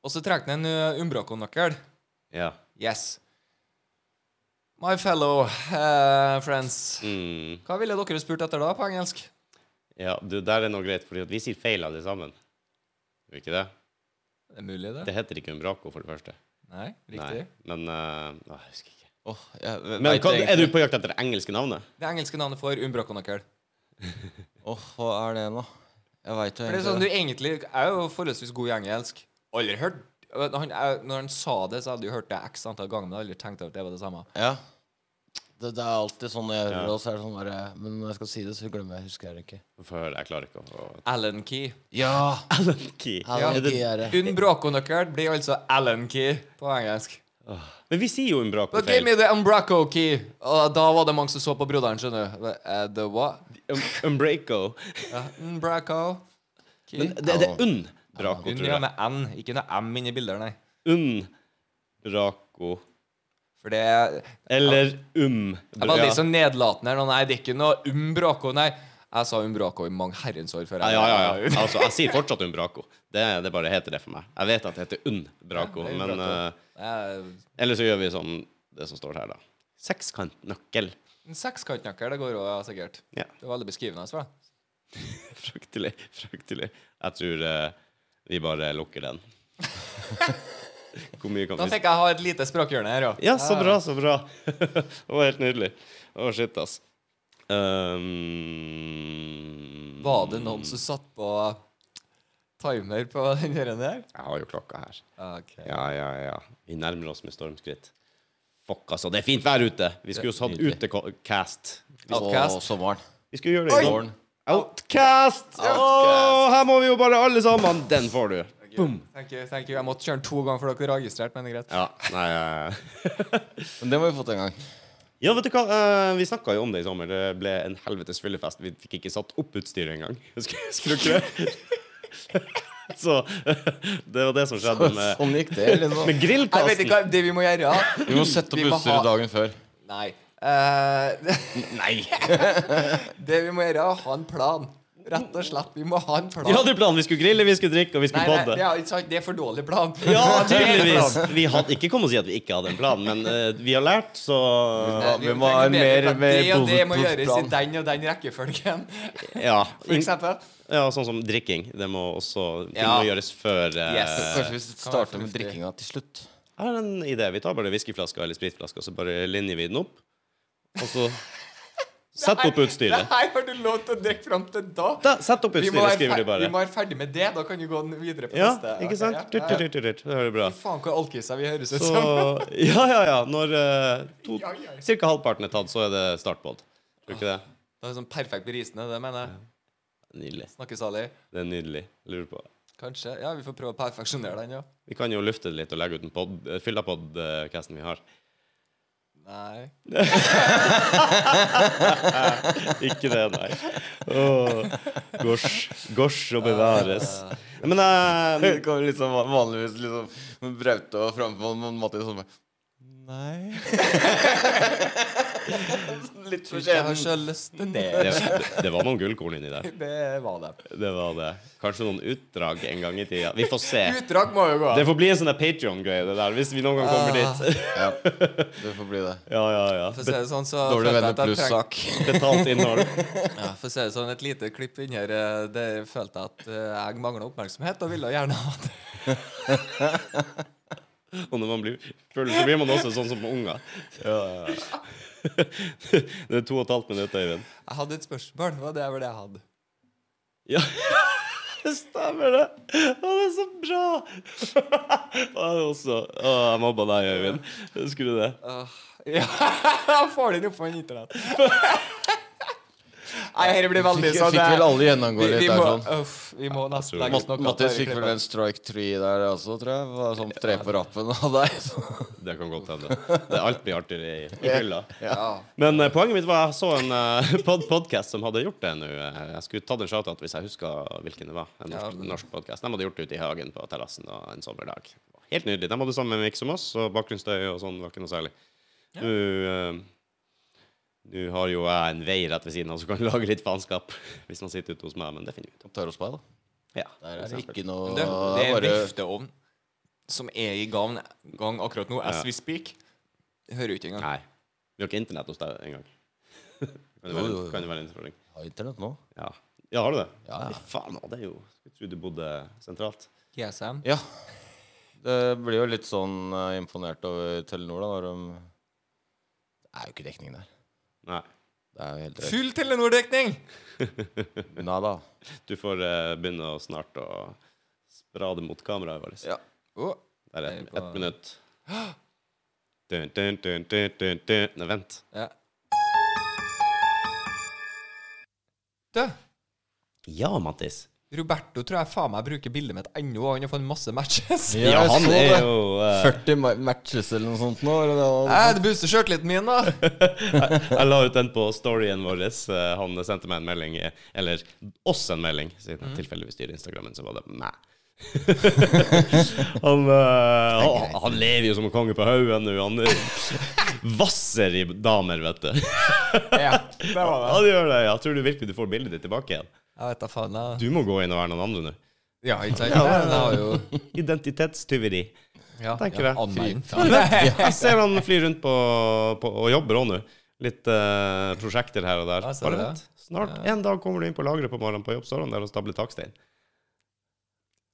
S2: Og så trekker han en uh, Umbraco-nøkkel.
S1: ja.
S2: Yes. My fellow eh, friends.
S1: Mm.
S2: Hva ville dere spurt etter da, på engelsk?
S1: ja du, der er noe greit, for vi sier feil alle sammen. Gjør vi ikke det?
S2: Det er mulig, det.
S1: Det heter ikke Umbraco, for det første.
S2: Nei, riktig.
S1: Nei. Men eh, å, jeg husker ikke.
S3: Åh, jeg vet
S1: Men hva,
S3: egentlig-
S1: er du på jakt etter det engelske navnet?
S2: Det engelske navnet for Umbraco-nøkkel.
S3: Åh, hva er det nå? Jeg veit
S2: For det er
S3: jo egentlig
S2: sånn, du
S3: det.
S2: egentlig jeg er jo forholdsvis god i engelsk. Aldri hørt Når han, jeg- når han sa det, så hadde jeg jo hørt det x antall ganger, men jeg hadde aldri tenkt at det var det samme.
S3: Ja. Det, det er alltid sånn når jeg hører
S1: Ja.
S3: det, og så er det sånn bare Men når jeg skal si det, så glemmer jeg. Husker jeg det ikke.
S1: For jeg klarer ikke å
S2: Allen Key.
S3: Ja!
S1: Alan Key.
S3: Alan
S1: Er det-
S3: Key er det.
S2: Umbraco-nøkkel blir altså Allen Key på engelsk.
S1: Men vi sier jo Umbraco
S2: But give
S1: feil.
S2: me the Umbraco key. Og da var det mange som så på broderen, skjønner du. Eh, The what?
S1: Um, Umbraco.
S2: Ja, Umbraco. Key.
S1: Men det, det er Unbraco,
S2: Under
S1: tror jeg.
S2: med N, ikke noe M inni bilder, nei.
S1: Unbraco.
S2: For det er
S1: Eller Umbra.
S2: Jeg var litt sånn nedlatende her nå. Nei, det er ikke noe Umbraco, nei. Jeg sa Umbraco i mange herrens år før.
S1: Ja,
S2: jeg-
S1: ja, ja. ja. Altså, jeg sier fortsatt Umbraco. Det, det bare heter det for meg. Jeg vet at det heter Unbraco,
S2: Ja, det er
S1: men
S2: Umbraco.
S1: eh,
S2: Eh,
S1: Eller så gjør vi som det som står her, da. Sekskantnøkkel.
S2: En sekskantnøkkel, det går jo ja, sikkert.
S1: Ja.
S2: Det var veldig beskrivende. Altså.
S1: Fryktelig. Fryktelig. Jeg tror eh, vi bare lukker den. Hvor mye kan
S2: Da
S1: vi
S2: fikk Ah. jeg ha et lite språkhjørne her, ja.
S1: Ja, så bra, så bra. det var helt nydelig. Å, shit, ass. Um,
S2: Var det noen som satt på timer på den her?
S1: Jeg har jo klokka her.
S2: Ok.
S1: Ja, ja, ja. Vi nærmer oss med stormskritt. Fuck, altså. Det er fint vær ute. Vi skulle jo hatt utecast.
S2: Outcast.
S3: Og sommeren.
S1: Vi skulle gjøre det i går.
S3: Våren.
S1: Outcast! Åh, her må vi jo bare alle sammen. Den får du.
S2: Thank you, thank you. Jeg måtte kjøre den to ganger for dere registrerte, men det er greit.
S1: Ja, nei eh.
S3: Men det må vi få til en gang.
S1: Ja, vet du hva? Eh, vi snakka jo om det i sommer. Det ble en helvetes fyllefest. Vi fikk ikke satt opp utstyret engang. Husker husker du ikke det? Så det var det som skjedde med,
S3: Sånn gikk det. Liksom.
S1: med
S2: Jeg vet
S1: grillkasten.
S2: ikke hva det vi må gjøre.
S3: Vi må sette
S2: Vi
S3: opp
S2: må ha-
S3: utstyret dagen før.
S2: Nei. Eh,
S1: Nei!
S2: det vi må gjøre, er å ha en plan. Rett og slett. Vi må ha en plan.
S1: Vi hadde jo planen. Vi skulle grille, vi skulle drikke, og vi
S2: nei,
S1: skulle
S2: nei, det
S1: podde.
S2: er, ikke sant, det er for dårlig plan.
S1: Ja, tydeligvis. Vi hadde ikke kommet og si at vi ikke hadde en plan, men eh, vi har lært, så
S3: Ja, vi må ha en mer-
S2: Det
S3: mer
S2: og det må gjøres i
S3: bulletproof-plan.
S2: den og den rekkefølgen.
S1: Ja.
S2: For eksempel.
S1: ja. Sånn som drikking. Det må også ting
S2: Ja.
S1: må gjøres før eh,
S2: Yes.
S3: Kanskje vi
S2: kan være
S3: starter med
S2: fornuftig.
S3: drikkinga til slutt.
S1: Jeg har en idé. Vi tar bare whiskyflaska eller spritflaska, så bare linjer vi den opp. Og så Sett opp
S2: Det
S1: utstyret.
S2: her har du lov til å drikke fram til da.
S1: Da, sett opp
S2: Vi må,
S1: utstyret,
S2: være
S1: skriver
S2: fer-
S1: du bare.
S2: vi må være ferdig med det. Da kan du gå den videre på
S1: Ja,
S2: neste.
S1: ikke
S2: Ok,
S1: sant?
S2: ja,
S1: Turt,
S2: ja.
S1: turt, turt, turt. Det hører du bra.
S2: Faen, hvor alkiser vi høres ut
S1: Så
S2: som.
S1: Ja, ja, ja. Når uh, to,
S2: Ja, ja.
S1: cirka halvparten er tatt, så er det startbåt. Tror du ikke det?
S2: Det er sånn perfekt berisende, det mener jeg.
S1: Nydelig.
S2: Snakkesalig.
S1: Det er nydelig. Jeg Lurer på
S2: Kanskje. Ja, vi får prøve å perfeksjonere den, ja.
S1: Vi kan jo lufte det litt og legge ut en pod, fylla podcasten vi har.
S2: Nei.
S1: Ikke det, nei. Åh, Gosh. Gosh og bevares. Men eh,
S3: Det kommer liksom van- vanligvis liksom Braute og framfor noen Mattis og sånn bare, Nei Litt for
S2: Jeg har
S3: sent.
S2: så lyst til det.
S1: det, det var noen gullkorn inni der.
S2: Det var det.
S1: Det var det. Kanskje noen utdrag en gang i tida. Vi får se.
S2: Utdrag må jo gå.
S1: Det får bli en sånn Patrion-greie, det der, hvis vi noen gang kommer
S2: Ah.
S1: dit.
S3: Ja, det får bli det.
S1: Ja, ja, ja.
S2: For å si det sånn, så
S3: Dårlig
S2: følte jeg
S3: venner
S2: at jeg trengte-
S3: pluss-sak.
S1: Betalt innhold.
S2: Ja, for å si det sånn, et lite klipp inn her, eh, det følte jeg at eh, jeg mangla oppmerksomhet, og ville gjerne ha det.
S1: Og når man blir full, så blir man også sånn som unger. Det er to og et halvt minutt, Øyvind.
S2: Jeg hadde et spørsmål, og det var det jeg hadde.
S1: Ja. Det stemmer, det. Å, det er så bra! Å, det er også. Å, jeg mobba deg, Øyvind. Husker du det?
S2: Ja, jeg får den opp på internett. Nei, dette blir veldig
S3: Fikk,
S2: sånn
S3: fikk
S2: eh,
S3: vel alle gjennomgå
S2: vi,
S3: litt
S2: vi,
S3: der
S2: må,
S3: sånn.
S2: uff, vi må nesten
S1: tror-
S2: legge
S3: Mat
S2: ut noe.
S3: Mattis fikk vel
S2: av
S3: en strike three der også, tror jeg. Var sånn tre på rappen av deg. så-
S1: Det kan godt hende. Det er alt blir artigere i, i fylla.
S2: det ja.
S1: Men eh, poenget mitt var jeg så en eh, pod podkast som hadde gjort det nå. Eh, Jeg skulle tatt en shout-out hvis jeg huska hvilken det var. En norsk,
S2: Ja.
S1: norsk podcast. De hadde gjort det ute i hagen på terrassen da, en sommerdag. Helt nydelig. De hadde samme miks som oss, og bakgrunnsstøy og sånn var ikke noe særlig. Nå eh, nå har jo jeg en vei rett ved siden av som kan lage litt faenskap hvis man sitter ute hos meg, men det finner vi ut av.
S3: Tar oss på deg, da.
S1: Ja.
S3: Der
S1: for
S3: er det
S1: eksempel.
S3: ikke noe
S2: Det, det er en
S3: bare
S2: vifteovn som er i gang, gang akkurat nå, as
S1: Ja.
S2: we speak. Jeg Hører jo ikke engang.
S1: Nei. Vi har ikke internett hos deg engang. kan det
S3: Jo,
S1: være,
S3: jo, jo.
S1: kan det være en utfordring?
S3: Har internett nå?
S1: Ja. ja, har du det?
S3: Ja, ja.
S1: Fy Faen, det er jo Skulle tro du bodde sentralt.
S2: GSM.
S3: Ja. Det blir jo litt sånn eh, imponert over Telenor, da, når de Det er jo ikke dekning der.
S1: Nei.
S3: Det er jo helt rett.
S2: Full Telenor-dekning!
S3: Nada.
S1: Du får eh, begynne å snart å sprade mot kameraet vårt.
S3: Ja.
S2: Å,
S1: Der er
S2: Jeg
S1: ett
S2: er på-
S1: et minutt. Dun, dun, dun, dun, dun, dun. Nei, vent.
S2: ja. Du,
S1: Ja, Mattis.
S2: Roberto tror jeg faen meg bruker bildet mitt ennå, og han har fått masse matches.
S3: Ja,
S1: Ja,
S3: jeg
S1: han
S3: så
S1: er
S3: det.
S1: jo eh,
S3: 40 ma- matches eller noe sånt nå. Eller det var,
S2: Nei, det booster sjøltilliten min, da.
S1: Jeg la ut den på storyen vår. eh, Han sendte meg en melding, eh, eller oss en melding, siden
S3: Mhm.
S1: jeg tilfeldigvis styrer Instagrammen, så var det meg. han, eh, han, han lever jo som en konge på haugen nå. Han eh, vasser i damer, vet du.
S2: Ja, det var det.
S1: Ja, det gjør det. Ja. Tror du virkelig du får bildet ditt tilbake igjen?
S2: Jeg vet da faen, jeg.
S1: Du må gå inn og være noen andre nå.
S2: Ja, ikke sant? Ja, det har jo
S1: Identitetstyveri.
S2: ja,
S1: Tenker
S2: ja,
S1: jeg.
S2: anmelden.
S1: Jeg ser han flyr rundt på, på og jobber òg nå. Litt eh, prosjekter her og der.
S2: Ja, ser
S1: Bare
S2: du
S1: vent.
S2: det?
S1: Snart en dag kommer du inn på lageret på morgenen på jobb, så har han der og stabler takstein.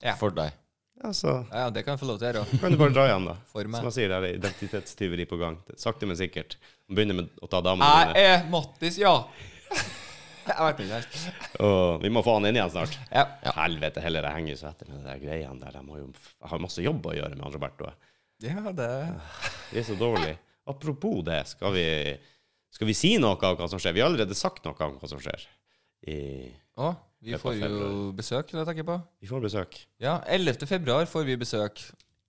S2: Ja.
S3: For deg.
S1: Ja, så
S2: Ja, ja, det kan jeg få lov til å gjøre.
S1: kan du bare dra hjem, da.
S2: For meg.
S1: Som jeg sier, det er identitetstyveri på gang. Sakte, men sikkert. Han begynner med å ta damene
S2: Jeg
S1: dine.
S2: er Mattis, ja. Jeg vet ikke helt.
S1: Og vi må få han inn igjen snart.
S2: Ja.
S1: Helvete heller, jeg henger jo så etter med de der greiene der. Jeg, må jo, jeg har masse jobb å gjøre med han Roberto.
S2: ja, det
S1: Det er så dårlig. Apropos det, skal vi, skal vi si noe om hva som skjer? Vi har allerede sagt noe om hva som skjer. I,
S2: Å, vi
S1: Dette
S2: får
S1: er
S2: jo besøk, det tenker jeg på.
S1: vi får besøk.
S2: Ja, 11. februar får vi besøk.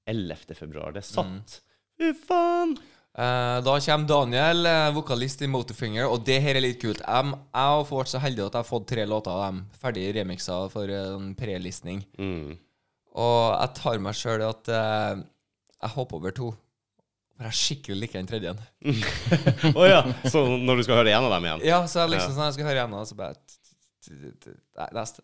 S1: 11. februar. Det er satt.
S2: Mm.
S1: Fy faen!
S2: Eh, da kommer Daniel, eh, vokalist i Motorfinger, og det her er litt kult. Jeg, jeg har vært så heldig at jeg har fått tre låter av dem ferdig remiksa for en prelistning.
S1: Mm.
S2: Og jeg tar meg sjøl i at eh, jeg hopper over to. For jeg skikkelig liker den tredje.
S1: Å ja. Så når du skal høre en av dem igjen?
S2: Ja, så jeg liksom sånn, jeg skal høre igjen, og så bare t- t- t- Nei, neste.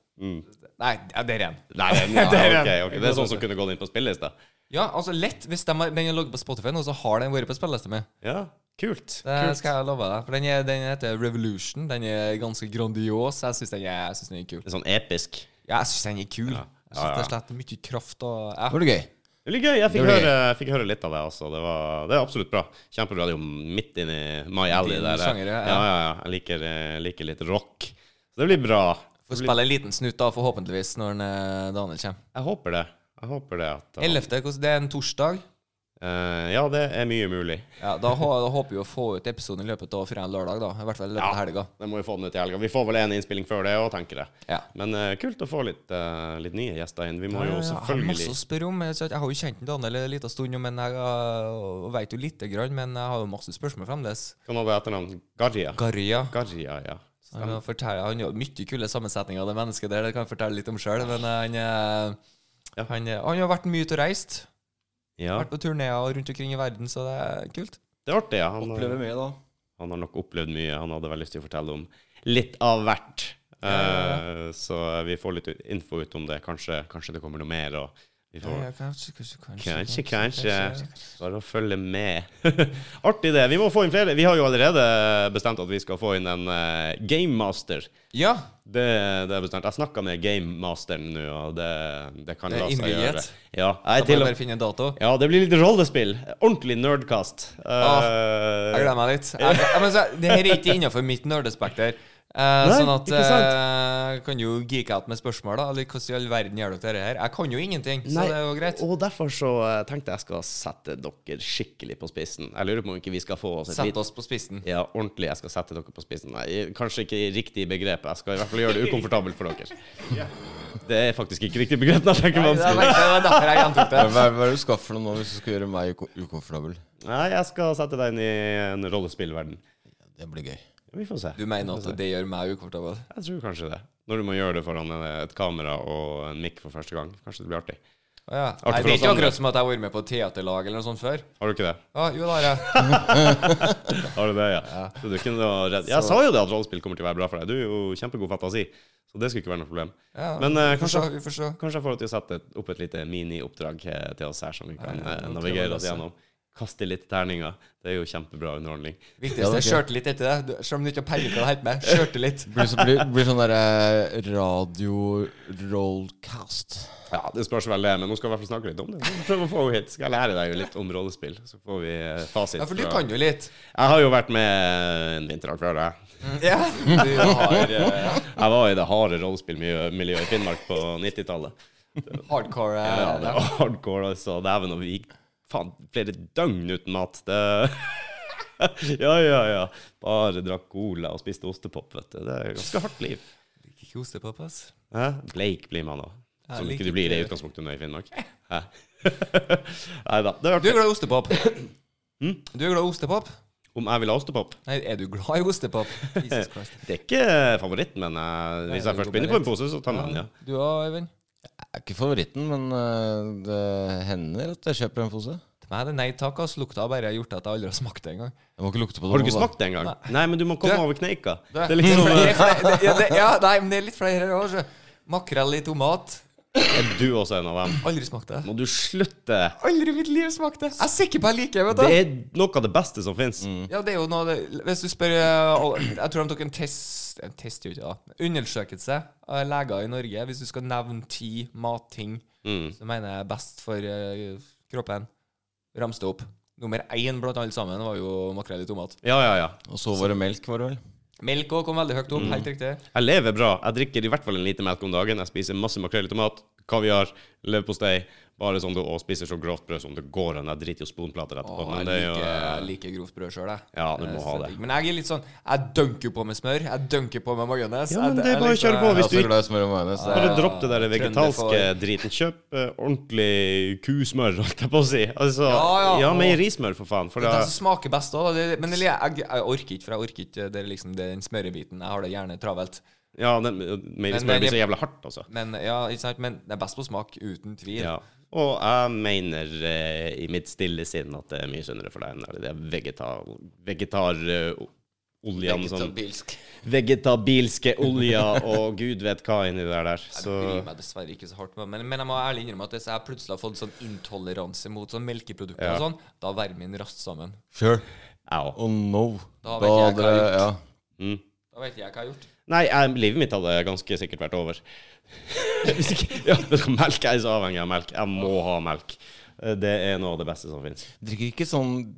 S2: Nei, ja, det er en.
S1: Nei, men, ja,
S2: er
S1: ok,
S2: en.
S1: ok. det er sånn som kunne gått inn på spillelista.
S2: Ja, altså lett. Hvis de har, den har ligget på Spotify nå, så har den vært på spillelista mi.
S1: Ja, kult.
S2: Det
S1: kult.
S2: skal jeg love deg. For den, er, den heter Revolution. Den er ganske grandios. Jeg syns den, er- jeg synes den er kul.
S1: Det er sånn episk.
S2: Ja, jeg syns den er kul. Jeg
S1: Ja,
S2: syns
S1: ja.
S2: det er slett mye kraft og ja.
S3: Var det gøy?
S1: Veldig gøy. Jeg fikk
S3: Det blir
S1: høre, jeg fikk høre litt av det også. Det, var, det er absolutt bra. Kjempebra. Det er jo midt inni My Alley.
S2: inn i
S1: Der. eh.
S2: sjangere, ja.
S1: ja, ja, ja. Jeg liker, eh, liker litt rock. Så det blir bra.
S2: Får spille en liten snutt da, forhåpentligvis, når den, eh, Daniel kommer.
S1: Jeg håper det. Jeg håper det at
S2: 11. hvordan- Det er en torsdag.
S1: Eh, Ja, det er mye mulig.
S2: Ja, da, hå, da håper vi å få ut episoden i løpet av fredag lørdag, da. I hvert fall i løpet av helga.
S1: Det må vi få den ut i helga. Vi får vel en innspilling før det òg, tenker jeg.
S2: Ja.
S1: Men eh, kult å få litt, eh, litt nye gjester inn. Vi må jo
S2: Jeg har masse
S1: selvfølgelig
S2: å spørre om. Jeg jeg har jo kjent Daniel en liten stund, men jeg eh, vet jo lite grann. Men jeg har jo masse spørsmål fremdeles.
S1: Hva var det etternavn? Garria.
S2: Garria.
S1: Garria, ja.
S2: Han har fortell- han har mye kule sammensetninger av det mennesket der, det kan jeg fortelle litt om sjøl. Men eh, han, eh,
S1: Ja.
S2: han, eh, han har vært mye ute og reist.
S1: ja.
S2: Vært på turneer rundt omkring i verden, så det er kult.
S1: Det er artig, ja. Han,
S3: Opplever mye, da.
S1: Han har nok opplevd mye. Han hadde veldig lyst til å fortelle om litt av hvert. Eh, så vi får litt info ut om det. Kanskje, kanskje det kommer noe mer. Og vi får
S2: kanskje, kanskje,
S1: Kanskje, kanskje. Bare å følge med. Artig, det. Vi må få inn flere. Vi har jo allerede bestemt at vi skal få inn en eh, game master.
S2: Ja,
S1: Det, det er bestemt. Jeg snakka med gamemasteren nå, og det, det kan
S2: Det er
S1: la seg
S2: innvilget.
S1: gjøre. Ja,
S2: da
S1: jeg er
S2: får jeg
S1: til og
S2: bare finne en dato.
S1: ja, det blir litt rollespill. Ordentlig nerdkast. Eh,
S2: Jeg gleder meg litt. Jeg, jeg, men så, det her er ikke innafor mitt nerdespekter. Eh,
S1: Nei,
S2: sånn at
S1: ikke
S2: eh, kan jo geeke out med spørsmål, da. Eller hvordan i all verden gjør dere det her? Jeg kan jo ingenting, så
S1: Nei,
S2: det er jo greit.
S1: Og derfor så eh, tenkte jeg skal sette dere skikkelig på spissen. Jeg lurer på om ikke vi skal få oss et
S2: Sett
S1: lite-
S2: oss på spissen.
S1: Ja, ordentlig. Jeg skal sette dere på spissen. Nei, kanskje ikke i riktig begrep. Jeg skal i hvert fall gjøre det ukomfortabelt for dere. Det er faktisk ikke riktig begrep. Det er ikke
S2: Det var
S1: vanskelig.
S2: det var derfor jeg gjentok det.
S3: Hva hva er det du skal for noe nå hvis du skal gjøre meg uko- ukomfortabel?
S1: Nei, jeg skal sette deg inn i en rollespillverden.
S3: Det blir gøy.
S1: Vi får se.
S2: Du mener at det gjør meg ukomfortabel?
S1: Jeg tror kanskje det. Når du må gjøre det foran et kamera og en mikk for første gang. Kanskje det blir artig.
S2: Å ja.
S1: Artig
S2: Nei,
S1: for
S2: det er
S1: oss
S2: ikke
S1: andre.
S2: akkurat som at jeg har vært med på teaterlag eller noe sånt før.
S1: Har du ikke det?
S2: Å, jo, da har jeg.
S1: Har du det, ja. Så du er ikke noe redd. Jeg sa jo det at rollespill kommer til å være bra for deg. Du er jo kjempegod fantasi, så det skulle ikke være noe problem.
S2: Ja,
S1: Men eh,
S2: vi får
S1: kanskje,
S2: se, vi får se.
S1: kanskje jeg får deg til å sette et- opp et lite minioppdrag eh, til oss her, som vi kan eh,
S2: det tror jeg
S1: navigere oss
S2: også.
S1: gjennom. Kaste litt terninger. Det er jo kjempebra underholdning.
S2: Viktigste er
S3: Ja,
S2: sjøltillit etter det. Du- Selv om du ikke har peiling på hva det heter med. Sjøltillit.
S3: Blir, så, blir, blir sånn derre radio-rollcast.
S1: Ja, det spørs vel det, men nå skal vi i hvert fall snakke litt om det. Prøv å få henne hit. Skal jeg lære deg jo litt om rollespill, så får vi eh, fasit.
S2: Ja, for du
S1: fra-
S2: kan jo litt.
S1: Jeg har jo vært med en vinterdag før, jeg.
S2: Ja. Du har eh,
S1: Jeg var i det harde rollespillmiljøet i Finnmark på 90-tallet.
S2: hardcore eh,
S1: Ja, det
S2: ja.
S1: var hardcore, altså. Dæven, og vi gikk faen flere døgn uten mat. Det Ja, ja, ja. Bare drakk cola og spiste ostepop, vet du. Det er ganske hardt liv.
S2: Liker ikke ostepop, ass.
S1: Hæ? Bleik blir man òg.
S2: Ja,
S1: Som
S2: like
S1: ikke du blir det i
S2: ikke.
S1: utgangspunktet nå i Finnmark. Nei da.
S2: Du
S1: Det er
S2: er
S1: artig.
S2: glad i ostepop?
S1: Mm.
S2: Du er glad i ostepop?
S1: Om jeg vil ha ostepop?
S2: Nei, er du glad i ostepop? Jesus Christ.
S1: Det er ikke favoritten, men eh, hvis jeg først begynner på en pose, så tar jeg den, ja.
S2: Du òg, Øyvind?
S3: Det er ikke favoritten, men eh, det hender at jeg kjøper en pose.
S2: Til meg er det nei takk, ass. Lukta har bare gjort at jeg aldri har smakt det engang.
S3: Jeg må ikke lukte på det.
S1: Har du ikke
S3: nå, da.
S1: smakt det engang? Nei, men du må komme
S2: Du-
S1: over kneika. Det
S2: Det
S1: er liksom
S2: det er flere- det- ja, det- Ja, nei, men det er litt flere her òg. Makrell i tomat.
S1: Er du også en av dem?
S2: Aldri smakt det.
S1: Må du slutte?
S2: Aldri i mitt liv smakt det. Jeg er sikker på jeg liker vet
S1: Det
S2: du.
S1: er noe av det beste som fins.
S2: Ja, det er jo noe det, Hvis du spør eh, alle- Jeg tror de tok en test En test, gjorde de ikke da. Undersøkelse av leger i Norge. Hvis du skal nevne ti matting
S1: Mm.
S2: som mener jeg er best for eh, kroppen, rams det opp. Nummer én blant alle sammen var jo makrell i tomat.
S1: Ja, ja, ja.
S3: Og så var det melk, var det vel?
S2: Melk
S1: Mm.
S2: òg kom veldig høyt opp. Helt riktig.
S1: Jeg lever bra. Jeg drikker i hvert fall en liten melk om dagen. Jeg spiser masse makrell i tomat. kaviar, leverpostei. Bare sånn du og spiser så grovt brød som det går an. Jeg driter jo sponplater etterpå.
S2: Åh,
S1: men
S2: jeg
S1: det er jo
S2: liker,
S1: eh,
S2: jeg liker grovt brød sjøl, jeg.
S1: Ja, du må
S2: Eh,
S1: ha
S2: så
S1: det.
S2: digg. Men jeg er litt sånn Jeg dunker jo på med smør. Jeg dunker på med majones.
S1: Ja,
S2: Jeg-
S1: men det er
S2: jeg
S1: bare å
S2: liksom-
S1: kjøre på.
S3: Jeg er
S1: Hvis du
S3: også
S1: ikke
S3: glad i smør og majones. jeg.
S1: bare dropp det der vegetalske
S2: Trønderfår.
S1: driten. Kjøp eh, ordentlig kusmør, holdt jeg på å si. Altså,
S2: Ja, ja.
S1: ja, meierismør, for faen. For
S2: Det er den
S1: da
S2: som smaker best òg, da. Det- Men jeg, jeg, jeg orker ikke, for jeg orker ikke det, er liksom, det er den smørebiten. Jeg har det gjerne travelt.
S1: Ja, den- meierismør blir så jævla hardt, altså.
S2: Men ja, ikke sant? Men det er best på smak, uten tvil.
S1: Ja. Og jeg mener eh, i mitt stille sinn at det er mye sunnere for deg enn det er vegetar... Vegetaroljen som
S3: Vegetabilsk.
S1: Vegetabilske olja og gud vet hva inni det der. Så
S2: Jeg bryr meg dessverre ikke så hardt med men, men jeg må ærlig innrømme at hvis jeg plutselig har fått sånn intoleranse mot sånn melkeprodukter
S1: Ja.
S2: og sånn, da vermer min raskt sammen.
S3: Sure.
S1: au.
S3: Oh no.
S2: Da vet jeg hva jeg har
S3: dere- ja.
S1: Mm.
S2: Da vet jeg hva jeg har gjort.
S1: Nei, jeg, livet mitt hadde ganske sikkert vært over. Hvis ikke Ja, vet du hva, melk Jeg er så avhengig av melk. Jeg må ha melk. Eh, Det er noe av det beste som fins.
S3: Drikker ikke sånn